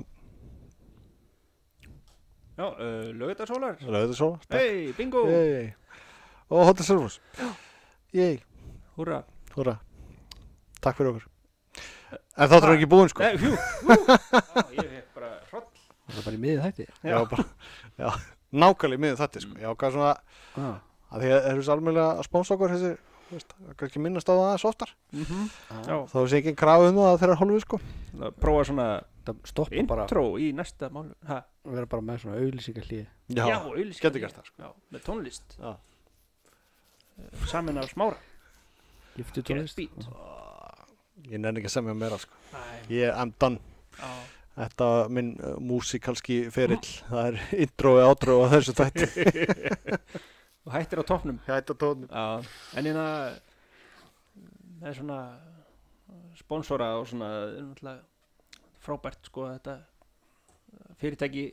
Já, uh, lögutarsólar rauðu svo Hei, bingo Yey. Og Hotel Servus Jæj, Húra húra Takk fyrir okkur En þáttur er ekki búinn sko Nei, <laughs> hjú, hú Já, ég hef bara hroll Það var bara í miðið þætti Já, bara, já nákvæmlega miður þetta sko. Já, hvað svona Já að því að það eru svo almennilega að spónsa okkur þessi, þú veist, það er kannski minnast á það aðeins oftar mm -hmm. Já. Já, þá sé ekki krafa um það að þeirra hálfu sko þá prófa svona Það stoppa bara, intro í næsta mál ha, vera bara með svona auðlýsingar hlýði já, Já, auðlýsing getur gert það, sko. Já, með tónlist Já. Eh, Samin af smára Giftu Gerð tónlist beat ég nenni ekki að semja meira sko Æ, ég, I'm done, á, þetta var minn uh, músikalski ferill, það er introið átrúið á þessu <laughs> þætti Og hættir á toppnum hætta tónum Já, en hérna með svona sponsora og svona er náttúrulega frábært sko að þetta fyrirtæki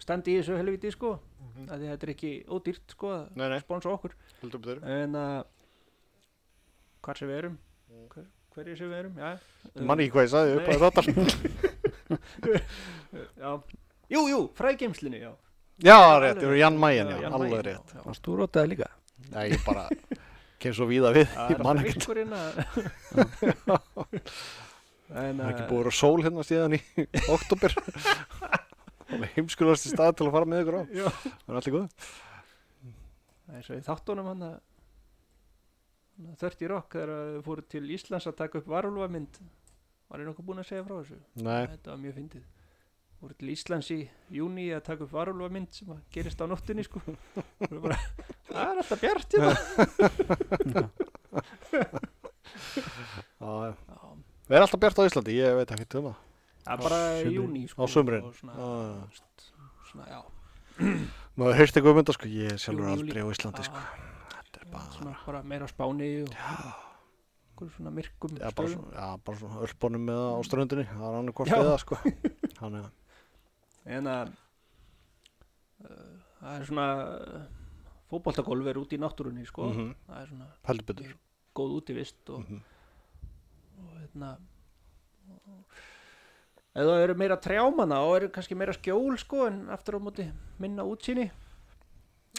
standi í þessu helviti sko Mhm. að því þetta er ekki ódýrt sko að nei, nei, sponsa okkur heldur upp þeirra en að hvað sem við erum hver, hverju sem við erum, já Mm. manni ekki hvað ég sagði, upp að þetta já. Jú, jú, frægeimslinu, já <laughs> já, rétt, ég eru Jan Mayen, já, Jan alveg Mayen, já, rétt já. Varst þú rótaði líka? nei, ég bara kem svo víða við, Það ég er man alltaf ekkert ykkur inn að <laughs> <laughs> en, Það er ekki eh, búið að vera sól hérna síðan í <laughs> oktober Alveg heimskulasti stað til að fara með ykkur á Já. Það er allir góð eins og í þáttunum hann að 30 Rock þegar þau fóru til Íslands að taka upp varulvamynd var ég nokkuð búin að segja frá þessu Nei, þetta var mjög fyndið fóru til Íslands í júni að taka upp varulvamynd sem að gerist á nóttinni <laughs> sko Voru bara, það er alltaf bjart hérna." það Já, er alltaf bjart á Íslandi, ég veit ekki um það það er bara í sumrin. júni sko, Á sumrin. og svona, Já. st- svona, já, Maður heyrst eitthvað um þetta sko, ég er sjálfur Júlí, Ah, aldrei á Íslandi sko að, Þetta er bara, svona, bara meira á Spáni og einhverjum svona myrkum já, bara, stöðum. svona, já, bara svona ölpunum með það á ströndinni Það er annað hvort Mm. Já. eða <laughs> sko Þannig að en að uh, það er svona uh, fótboltagólf er úti í náttúrunni sko. Mhm. það er svona heldur betur góð útivist og, Mhm. og hérna og- eða það eru meira trjámanna og eru kannski meira skjól sko en aftur á móti minna útsýni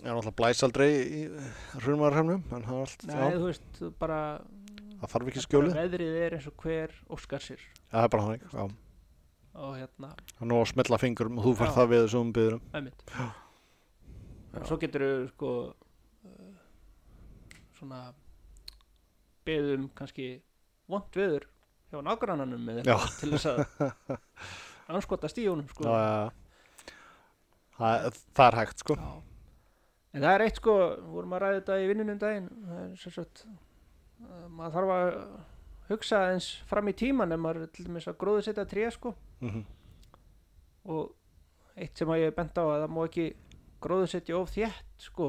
Ég er alltaf blæs aldrei í hrunmarhemnum En það er allt, Nei, já, þú veist, þú bara það þarf ekki bara skjólið Já, veðrið er eins og hver óskar sér það er bara þannig, já og hérna, Það er nú að smetla fingurum og þú fær Já. það við þessum byðurum einmitt Já. og svo getur þau sko uh, svona beðum kannski vond veður hjá nágrannanum eða Já. eitthvað til þess <laughs> að anskotast í honum sko já, já, já. Það, það er hægt sko Já. En það er eitt sko, við vorum að ræða þetta í vinnunum daginn, það er sem sagt, uh, maður þarf að hugsa eins fram í tíman ef maður er til dæmis að gróðu setja tré sko Mhm. og eitt sem að ég er bent á að það má ekki gróðu setja of þétt sko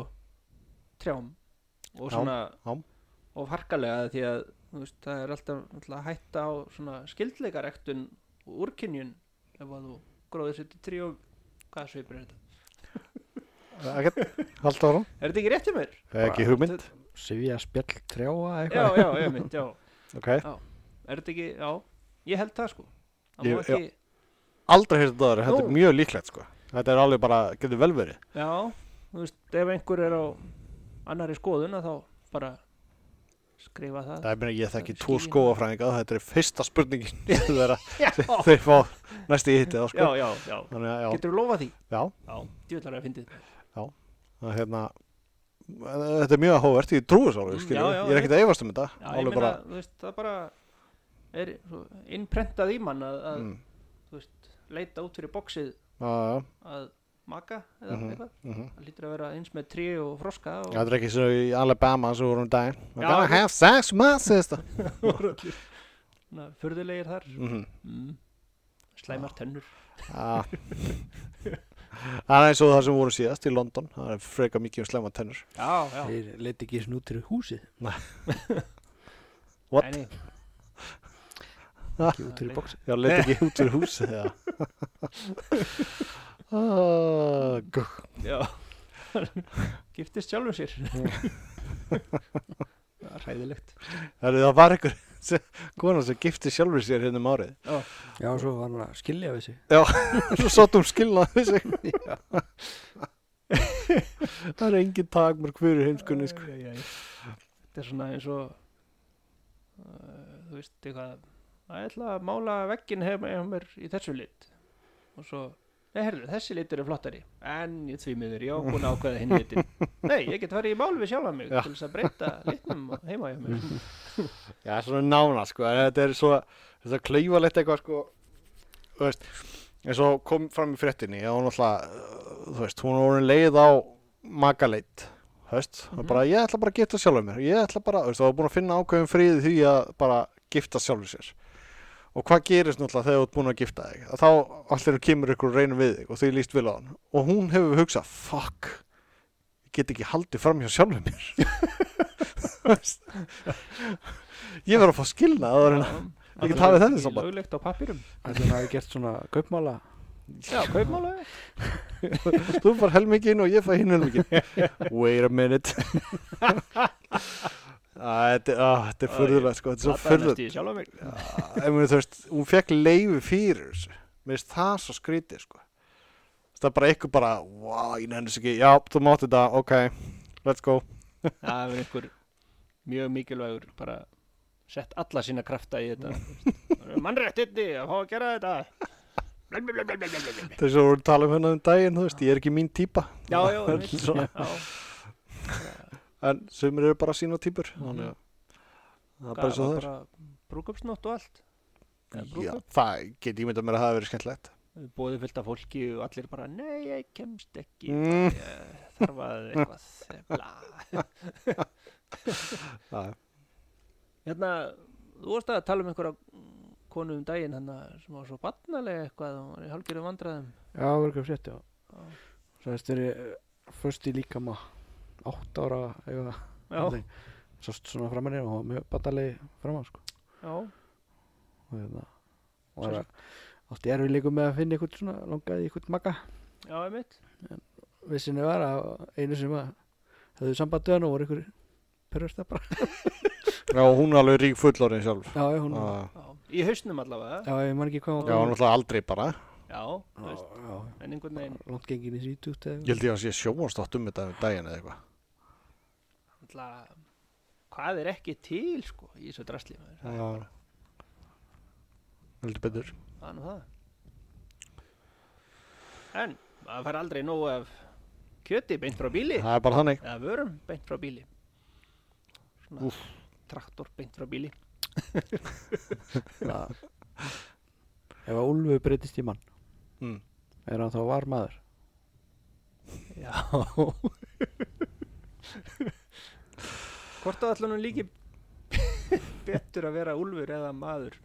trjám og Já, svona já. of harkalega því að þú veist, það er alltaf, alltaf hætta á svona skildleikarektun og úrkynjun ef að þú gróðu setja tré og hvað sveipur er þetta? Ekkert, haldt ára Er þetta ekki rétt hjá mér? Ekki hugmynd, Sivja spjall trjáa Já, eitthvað já, ég mynd, já ok Er þetta ekki, já, ég held það sko Það Ég- má ekki, Aldrei heyrði þetta aðra, þetta Nú. er mjög líklegt sko Þetta er alveg bara, getur vel verið já. þú veist, ef einhver er á annari skoðun að þá bara skrifa það Það er meina ég þekki Það er tvo skýin. skóafræðinga Þetta er fyrsta spurningin sem þeirra- <laughs> Já, <laughs> þeir fá næst í hitti þá já, sko já, já Þannig að já, Getur þú lofað því? já Já, djúðlar að fyndið það er hérna Þetta er mjög áhugavert, ég trúi svo alveg, Mm, skilur já, við. já, Ég er ekkert að efast um þetta Já, ég Alveg meina, bara, þú veist, það bara er svo innprentað í mann að, að mm, þú veist, leita út fyrir boxið já, já, að maka eða Mhm. eitthvað mhm. Það lítur að vera eins með trí og froska og Þetta er ekki svo í Alabama sem vorum daginn I'm Já, gonna ég- have sex with my sister <laughs> svona furðulegir þar Mhm. mm. Slæmar tönnur Já. Ah. Það er eins og það sem við vorum síðast í London Það er freka mikið um slemma tennur Já, já Þeir leit ekki svona út fyrir húsið What? Nei, nei. Ekki út Nei. fyrir bóksi Já, leit ekki út úr hús <laughs> Já Ah, gú. Já <laughs> Giftist sjálfum sér <laughs> Það er Hræðilegt Herru, Það var einhver sem- kona sem gifti sjálfur sér hérna um árið Já, svo var hann að skilja við sig Svo sáttum skilnað við sig Það er engin takmörk fyrir heimskunni sko. Æ, æ, æ. Þetta er svona eins og uh, Þú veist eitthvað Það ætla að mála vegginn heima hjá mér í þessu lit Og svo Nei, herru, þessi litur er flottari En ég því miður, já, hún ákveða hinn <laughs> litin Nei, ég get farið í mál við sjálfa mig Já. Til þess að breyta litnum heima hjá mér Já, svona nána, sko, en þetta er svo, þetta er klaufalegt eitthvað, sko, þú veist, eins og kom fram í fréttinni, ég var náttúrulega, uh, þú veist, hún var orðin leið á makaleit, þú veist, mm Mhm. bara, ég ætla bara að gifta sjálfur mér, ég ætla bara, þú veist, það var búin að finna ákveðum fríði því að bara gifta sjálfur sér. Og hvað gerist náttúrulega þegar þú ert búin að gifta þig? Að þá allir kemur ykkur og reynir við þig og því líst vil á hann. Og hún hefur hugsað, fuck, ég get ekki haldið fram hjá sjálfur mér. <laughs> Þú veist, ég verður að fá skilna að það er <laughs> Ég get hafið þetta samband. Löglegt á pappirum Ætli hann hafi gert svona kaupmála Já, kaupmála þú far helmingin og ég far hinn helmingin <laughs> wait a minute Æ, Ah, þetta, á, þetta er fyrðulegt sko, þetta er svo fyrðulegt í sjálfa mig ég meni þú veist, hún fekk leifi fyrir þessu, mér finnst það svo skrítið sko, það er bara eitthvað bara, wow, ég nefnir þessu ekki já, þú mátt þetta, ok, let's go Það er einhver mjög mikilvægur bara sett alla sína krafta í <laughs> þetta mannréttindi að fá að gera þetta Blah, blah, blah, blah, blah, blah, blah. þess að voru að tala um hennar um daginn, þú veist, ég er ekki mín típa Já, já, <laughs> einmitt. Svona. já en sumir eru bara sína típur þannig að það er bara svo það er brúkupsnótt og allt Eða Já, brúðkaup. það get ég myndað mér að það hafi verið skemmtilegt bóði fullt af fólki og allir bara nei, ég kemst ekki Mm. ég þarf að eitthvað bla. Já. hérna, þú vorst að tala um einhverja konu um daginn hann sem var svo barnalega eitthvað og var í halgjörum vandræðum Já, það var eitthvað frétt, já Já. Svo þess þeirri först eh, í líkama átt ára eða já, Sást svona framan í og hún var mjög batalegi framan sko já, og hérna og það er- átti erfið líka með að finna eitthvað svona langaði í eitthvað maga já, einmitt vissinni var að einu sem að höfðu sambandið hann og voru eitthvað perversta bara Já, hún er alveg rík fullorinn sjálf Já, já, hún Ah. já. í hausnum allavega Já, ég man ekki hvað hún Já, hann alltaf aldrei bara já, þú Já, veist, já, en einhvern veginn bara langt gengin í svítugt Ég held ég að sé sjónvarsdótt um þetta um daginn eða eitthvað alltaf, hvað er ekki til sko, í þessu drasli maður? Já Heldur betur Það er nú það En maður fær aldrei nóg af kjöti beint frá bíli Það er bara <laughs> þannig eða vörum beint frá bíli Svona Úff. traktor beint frá bíli Ef að Úlfu breytist í mann Mm. er hann þá var maður Já Hvort á allan hún líki <laughs> betur að vera úlfur eða maður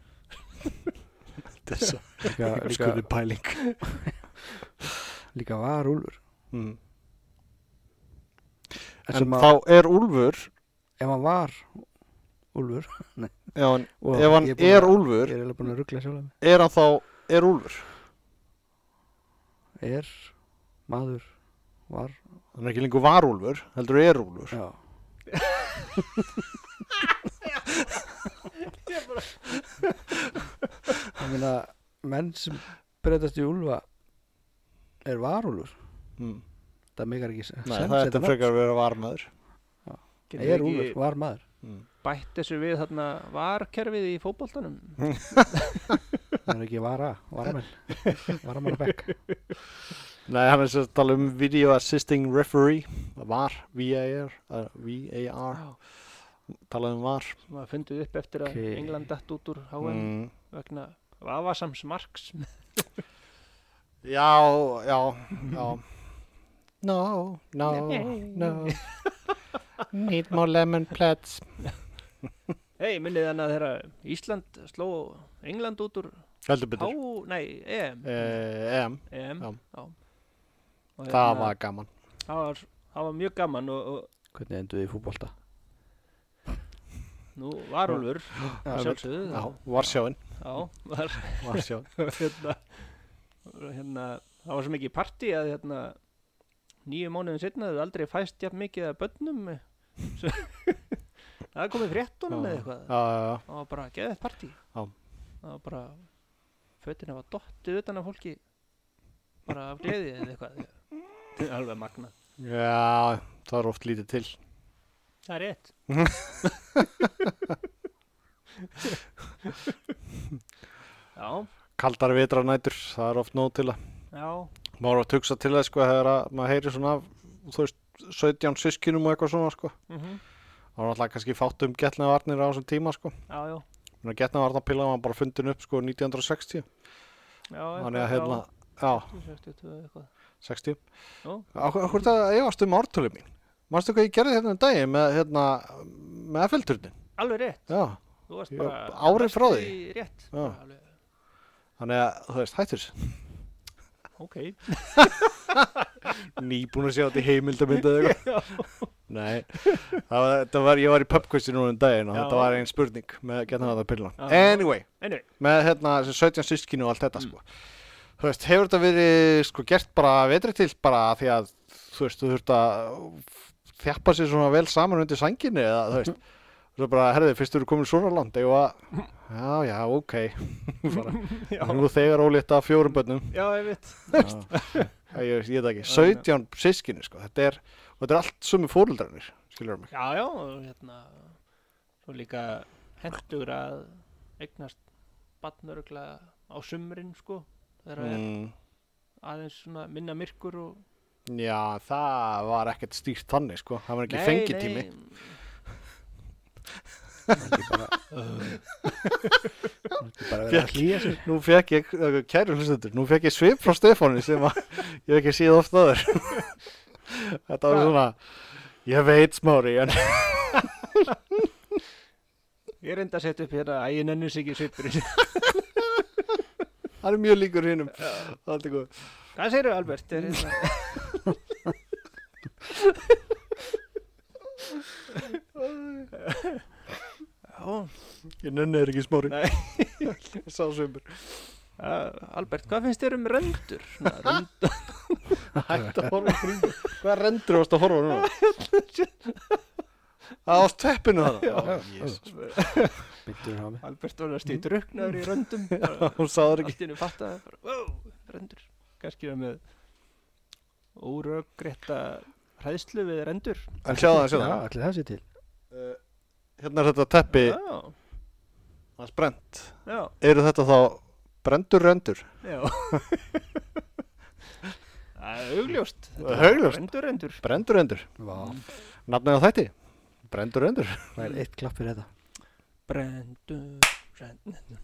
Þess að líka, líka, skoði pæling líka var Úlfur mm. En En sem að, þá er Úlfur ef hann var Úlfur Já, en og ef hann ég er búinn að- Ég Úlfur er eiginlega búin að ruggla sjálf Er hann þá er Úlfur mig Er maður var Hann er ekki lengur var Úlfur Heldur er Úlfur Já, ég meina menn sem breytast í Úlfa er var Úlfur mm. Það megar ekki sens Nei, það er þetta þetta frekar að vera varmaður nafn. Er Úlfur, var maður mm. bætt þessu við þarna varkerfið í fótboltanum Það er ekki vara, varamenn Varamenn að bekk Nei, hann er sem sagt að tala um Video Assisting Referee Var, VAR uh, VAR, Já, talað um var sem að fundið upp eftir að Ok. England dætt út úr HM mm. vegna vafasams marks Já, já, já. No, no, no. Need more lemon plats. Hei, minnið hann að þeirra Ísland sló England út úr Heldur Há, betur. nei, EM Eh, em, EM, já. já Og það hérna, var gaman. það var, það var mjög gaman og, og Hvernig endur þið í fútbolta? nú var Úlfur Já, að sjálfsögðu Já, og- Varsjáin. Já, var <laughs> Varsjáin. hérna, og hérna Það var svo mikið partí að hérna Nýju mánuðin setna þau aldrei fæst jafn mikið að bönnum svo, <laughs> Það er komið fréttunum eða eitthvað Já, já, já. það var bara geðið partí Já. það var bara fötin hafa dottið utan af fólki bara af gleði eða eitthvað <laughs> þetta er alveg magna Já, það er oft lítið til. það er <laughs> rétt já, Kaldar vetranætur, það er oft nóg til að. já maður átt að hugsa til það sko þegar að maður heyri svona af, þú veist, 17 sískinum og eitthvað svona sko mm það var náttúrulega kannski fátt um getnaðvarnir á þessum tíma sko já, já, getnaðvarnarpillan var bara fundin upp sko 1960 já þannig að hérna, eitthvað, já, já, 62 eitthvað. 60 Nú. Akkur þetta efast um ártölu mín Manstu hvað ég gerði hérna um daginn með, hérna, með F-filturnin alveg rétt, Já, þú varst Ég bara var ári frá næstu því. í rétt, Já. alveg, þannig að þú veist, hættur ok Nýbúin að sjá þetta í heimildamyndu eða <laughs> eitthvað Nei, það var, það var, ég var í pubquizi núna um daginn og Já. þetta var einn spurning með getna þetta pillan Já. Anyway, anyway, með hérna þessi 17 sískinu og allt þetta sko Þú veist, hefur þetta verið sko gert bara vetri til bara af því að þú veist, þú þurft að þjappa sér svona vel saman undir sænginni eða þú veist, þú veist bara, herði, fyrst eru komin svona land, ég var já, já, ok <laughs> bara, já, nú þegar ólétta af fjórum bönnum já, ég veit Já, ég, ég veit það ekki, 17 sískinu sko, þetta er, og þetta er allt sumi fóruldrarnir, skilur mig já, já, og hérna svo líka hendur að eignast batnörugla á sumrin, sko þegar það mm, er aðeins svona minna myrkur og já, það var ekkert stýrt þannig sko, það var ekki fengitími ekki bara ekki bara Fékk. verið að hlýja sér Nú fekk ég, eh, kæru hlustendur, nú fekk ég svip frá Stefáni sem að ég hef ekki síð oft aður. <laughs> Þetta var Hvað? svona, ég veit smári, en <laughs> Ég reynda að setja upp hérna að ég nennu sig ekki svipurinn. <laughs> hann er mjög líkur hinnum. Það er allt í góð. Hvað segirðu Albert? Er hérna, já, Ég nenni þér ekki smári. <laughs> Nei. Sá <laughs> svipur. uh, Albert, hvað finnst þér um rendur? Svona, rendur Hætti að horfa kringu. Hvað rendur þú varst að horfa núna? <laughs> Það var steppinu þannig. Jesus. Bindur hann á mig Albert var Mm. næstu í druknaður í <laughs> röndum. <laughs> Hún sáður ekki. Allt innu fattaði bara, wow, rendur. Kannski er hann með óröggrétta hræðslu við rendur. En sjáðu það, Já, sjáðu það. allir það sé til Uh, Hérna er þetta teppi, Já, hans brent. já, Eru þetta þá brendur rendur? já. <laughs> Það er augljóst. Þetta er Augljóst. Rendur, rendur. Brendur rendur. Vá, Nafnið á þætti? Brendur rendur. það er eitt klapp fyrir þetta Brendur, brendur.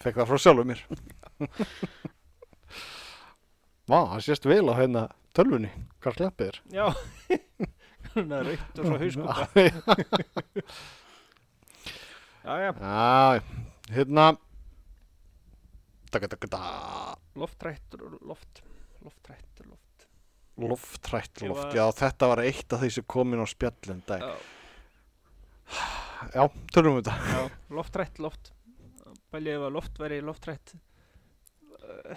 Fekk það frá sjálfum mér <laughs> Vá, það sést vel á hérna tölvunni Hvað klappið er Já, svona rautt og svo hauskúpa. Já, Já, já, <laughs> já, hérna Dagadagada loftrætt, og loft, loftrætt, og loft. Loftrætt Ég loft var- Já, þetta var eitt af því sem komin á spjallin dag Já, Já, tölvum við þetta já, loftrætt, loft. Bælið ef að loft væri loftrætt. Uh,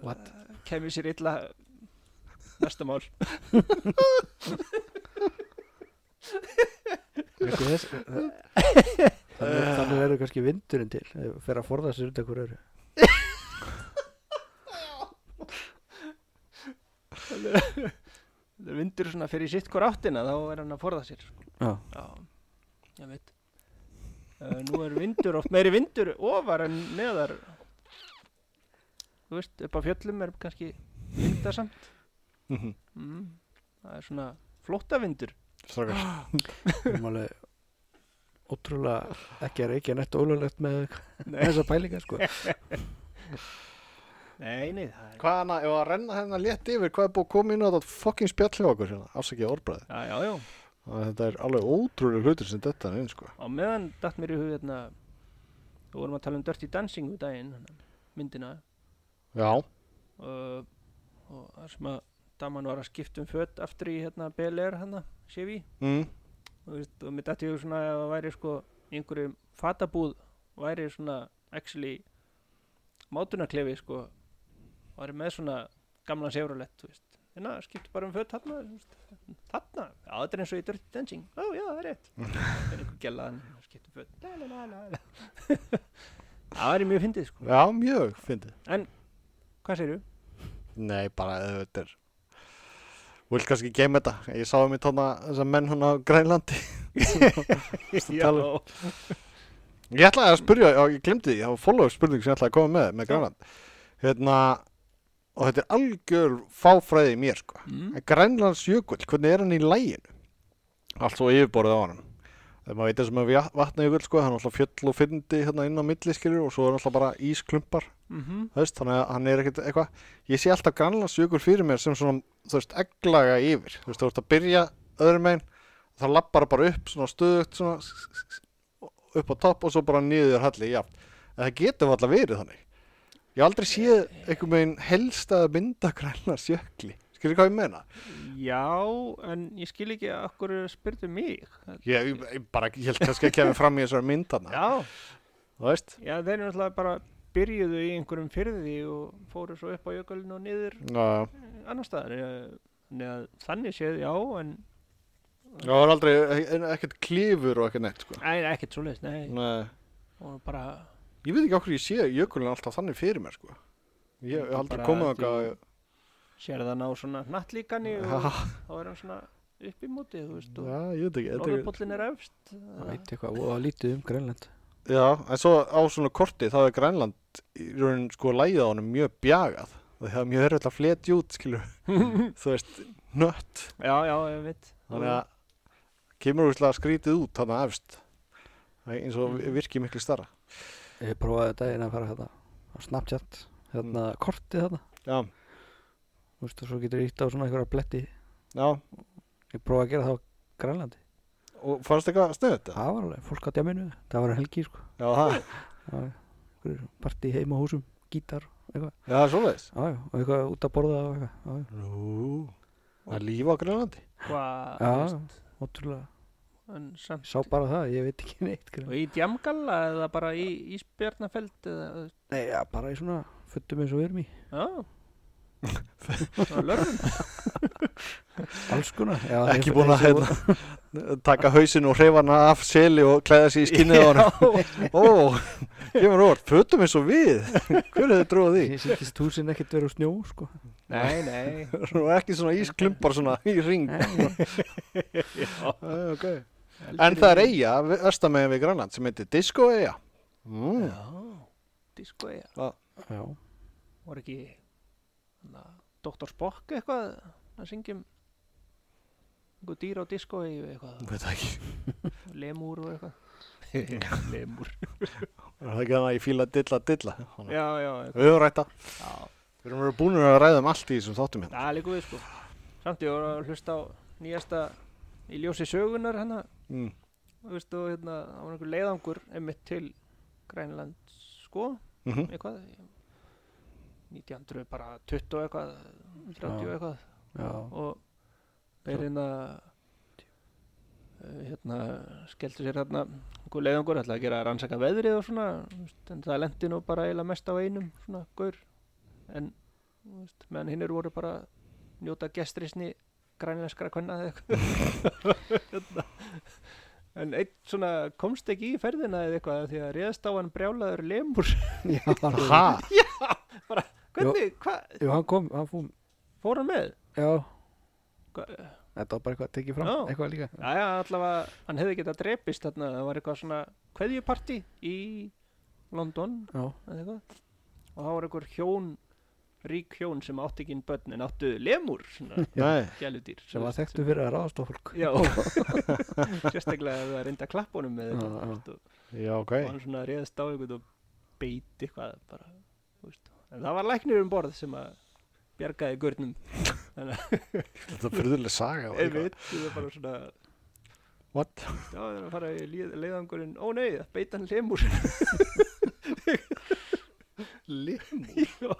What? Kæmi sér illa næsta mál. Veistu þess- Þannig þannig verður kannski vindurinn til ef Fer að forða sér út ekkur öru Það vindur svona fyrir sitt hvort áttina, þá er hann að forða sér. sko. Já, Já, ég veit. Uh, nú er vindur oft, meiri vindur ofar en neðar. Þú veist, upp á fjöllum er kannski vindasamt. Mhm. Mm. Það er svona flóttavindur. <laughs> Strákar, við erum alveg Ótrúlega ekki að reykja neitt ólulegt með Nei, þessa pælinga sko nei, nei, það er... hvað hana, ef að renna hérna létt yfir Hvað er búið að koma inn á þetta fucking spjall hjá okkur hérna Afsakið orðbræði Já, já, já. Þetta er alveg ótrúlega hlutur sem þetta er einn sko Á meðan datt mér í hug hérna, þú vorum að tala um Dirty Dancing úr daginn, hana, myndina, Já, uh, og það sem að daman var að skipta um fött aftur í hérna BLR hérna, Chevy. mm. þú veist, og mér dætti ég svona að það væri sko í einhverjum fatabúð væri svona actually mátunarklefi sko væri með svona gamlan sefurlegt þú veist, en það skipti bara um fött þarna þú veist, þarna, já þetta er eins og í Dirty Dancing, ó já það er rétt það er einhver gælaðan, skipti um fött la, la, la, la, la. <laughs> það væri mjög fyndið sko, já mjög fyndið hvað segirðu? Nei, bara ef þetta er Vil kannski geima þetta Ég sá hérna <laughs> um í tóna þessar menn hún á Grænlandi Já, Ég ætlaði að spyrja, já, ég glemdi því, ég hafa follow-up spurning sem ég ætlaði að koma með, með Grænland. Hérna, og þetta er algjör fáfræði í mér, sko. mm. En Grænlands jökull, hvernig er hann í læginu? Allt svo yfirborðið á hann. Þegar maður veit þessum með vatna jökull, sko, hann er alltaf fjöll og fyndi hérna inn á milli, skilur, og svo er alltaf bara ísklumpar, Mm þú veist, þannig að hann er ekkert eitthvað. Ég sé alltaf Grænlands jökull fyrir mér sem svona, þú veist, egglaga yfir. Þú veist, þú veist að byrja öðrum megin, það lappar bara upp svona stöðugt, svona, upp á topp og svo bara niður halli, já. En það getur alltaf verið þannig. Ég hef aldrei séð einhvern veginn helstaða mynda Grænlands jökli. Skilur hvað ég meina? Já, en ég skil ekki að okkur spyrtu mig Ég, ég- ég bara, ég held kannski að kemur fram í þessari mynd hana, Já, þú veist? já þeir eru náttúrulega bara byrjuðu í einhverjum fyrði og fóru svo upp á jökulinn og niður Já, annar staðar eh, þannig að þannig séð já en það var aldrei e- ekkert klifur og ekkert neitt, sko. Nei, ekkert svo leist, nei Nei. og bara, Ég veit ekki okkur ég sé jökulinn alltaf þannig fyrir mér, sko. Ég hef aldrei Bara komið að því- okkar, sér það ná svona nattlíkani og þá er hann svona upp í móti, þú veist og já, ég veit ekki. þetta er- norðurpóllin er efst Það þannig að- veit eitthvað og lítið um Grænland Já, en svo á svona korti þá er Grænland í raunin sko lægið á honum mjög bjagað og það er mjög erfitt að fleti út, skilur <laughs> þú veist, nött Já, já, ég veit þannig að kemur úrslega skrítið út þannig að efst Það er eins og Mm. virki miklu starra Ég prófaði daginn að fara hérna á Snapchat hérna Mm. kortið þarna Já, Þú veist og svo getur ítt á svona einhverja bletti já, Ég prófaði að gera það á Grænlandi og fannst eitthvað stöðu þetta? Það var alveg fólk á djáminu Það var um helgi sko Já, það, Það var einhverjir partí heima á húsum Gítar já, það er svoleiðis Já, já, og eitthvað út að borða og eitthvað Já, já, Nú, það er líf á Grænlandi hvað, Já. þú veist, ótrúlega en Ég samt Sá bara það, ég veit ekki neitt og Grænland í Djamgalla eða bara í Ísbjarnafeld eða, þú veist, Nei, já, bara í svona föttum eins og við erum í <laughs> já svona lörfum Alls konar já, Ekki þeir- búin að þeir- hérna, taka hausin og hreifana af seli og klæða sig í skinnið á hann <laughs> Ó, kemur orð, fötum eins og við Hver hefði trúið því? <laughs> Ég sýttist húsin ekkert verið á snjó sko nei, nei og ekki svona ísklumpar svona í ring <laughs> Æ, okay. en það er eiga vestamegin við Grænland sem heitir Disco eiga mm. disko eða, Já, voru ekki na, Dr. Spock eitthvað að syngjum einhver dýr á disko eða eitthvað veit það ekki lemur og eitthvað lemur er það ekki þannig að ég fíla dilla dilla Þannig. já, já, eitthvað. við höfum rætta já. við erum verið búin að ræða um allt í þessum þáttum hérna það er líka við sko samt ég voru að hlusta á nýjasta í ljósi sögunar hana mm. þú veist og hérna það var einhver leiðangur einmitt til Grænland sko Mm eitthvað 1900 bara 20 eitthvað 30 Já. eitthvað já, og þeir hérna eh, hérna skelltu sér hérna einhver leiðangur ætlaði að gera að rannsaka veðrið og svona þú veist, en það lendi nú bara eiginlega mest á einum svona gaur en þú veist, meðan hinn voru bara að njóta gestrisni grænlenskra kvenna eða eitthvað <laughs> hérna. en einn svona komst ekki í ferðina eða eitthvað af því að réðst á hann brjálaður lemur <laughs> já alveg. ha, <laughs> hvernig, hvað, Jú, hann kom, hann fór fór hann með? Já, Hva, þetta var bara eitthvað að tekið fram, Já. eitthvað líka Jæja, allavega, hann hefði getað drepist þarna, það var eitthvað svona kveðjuparti í London Já, eða eitthvað og það var einhver hjón, rík hjón sem átti ekki inn börn en áttu lemur <laughs> svona nei, gæludýr sem var þekktu fyrir að ráðast á fólk Já, <laughs> sérstaklega ef það reynda klappunum með Já, já. þetta þú veist, og- já ok og hann svona reyðist á einhvern og beiti eitthvað bara, þú veist. en það var læknir um borð sem að bjargaði gurnum þetta er fyrðuleg saga var eitthvað. einmitt, það var bara svona what? Já, það er að fara í lið- leiðangurinn Ó nei, það beit hann lemur Lemur? Já,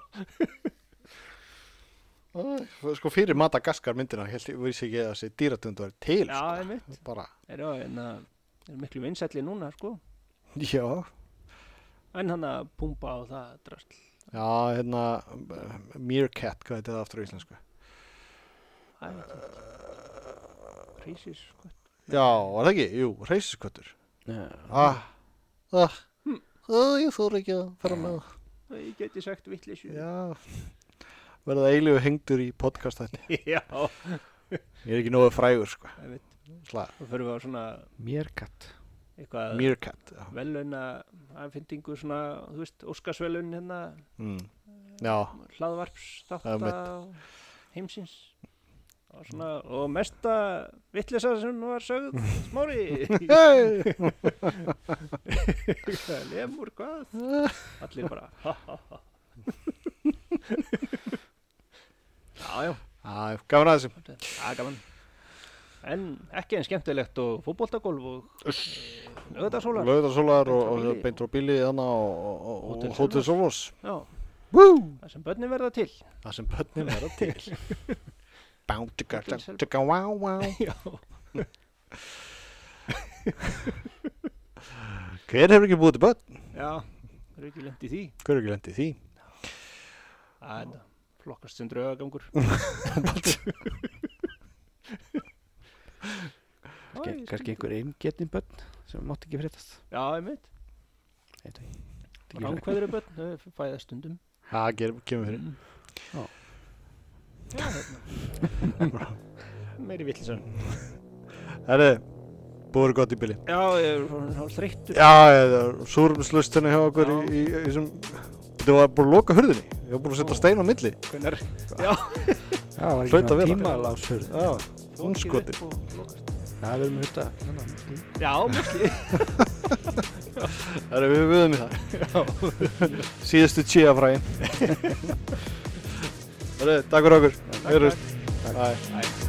Æ, sko fyrir Madagaskar myndina held ég vissi ekki að þessi dýratundu er til <laughs> já sko. einmitt bara, Er, já, en það er hérna, miklu vinsælli núna, sko já En hann að pumpa á það drasl já, hérna eh, meerkat, hvað heitir það aftur á íslensku Æ, ég veit það ekki. Rísis, sko já, var það ekki? jú, reisisköttur Já, Ah, ah, Hm. ah, ég þóra ekki að fara með það. Ég geti sagt vitleysu Já, verða eilífu hengdur í podcast þetta. já Ég er ekki nógu frægur, sko. einmitt Slag. Þá förum við á svona Mérkatt eitthvað Meerkat já. velun að finningu svona, þú veist, Óskarsvelun hérna, Mm. já, hlaðvarps Það er þátt mitt. heimsins og svona, og mesta vittlisa sem var sögð smári Hey! lemur, hvað? Allir bara, ha, ha, ha Já, já, Æ, gaman að þessum þetta er- það er gaman En ekki en skemmtilegt og fótboltagólf og eh, nöðarsólar Laugarsólar og, og Beintrabíli. beint frá bíli þannig og, og, Hótel og Hotel Sólfors Já, Woo! það sem börnin verða til það sem börnum er að til Bound to go, Hótel Sólborg. to go, wow, <laughs> wow Já, Hver hefur ekki búið til börn? já, það er ekki lent í því Hver hefur ekki lendið því? Það er þetta, flokkast sem <laughs> draugagangur Ke- Æ, kannski einhver eingetnin börn sem mátti ekki fréttast Já, einmitt, Þetta ekki ránkvæður börn, þau fæðast stundum Mm. Það ger- kemur fyrir Já, hérna Meiri vittlisann Herri, búið er gott í bíli Já, ég er svona hálf þreyttur Já, það er súrumslustinu hjá okkur í, í, í þessum Þetta var búin að loka hurðinni Ég var búin að setja stein á milli Hvernar Já, var ekki Hlaut að svona vera. tímalásfjörð Já, hún skotir Já, við erum að hluta hérna, muslim. Já, mjög Það er við viðum í það <laughs> Síðustu tjíða fræin Það er, takk fyrir okkur Við erum Æ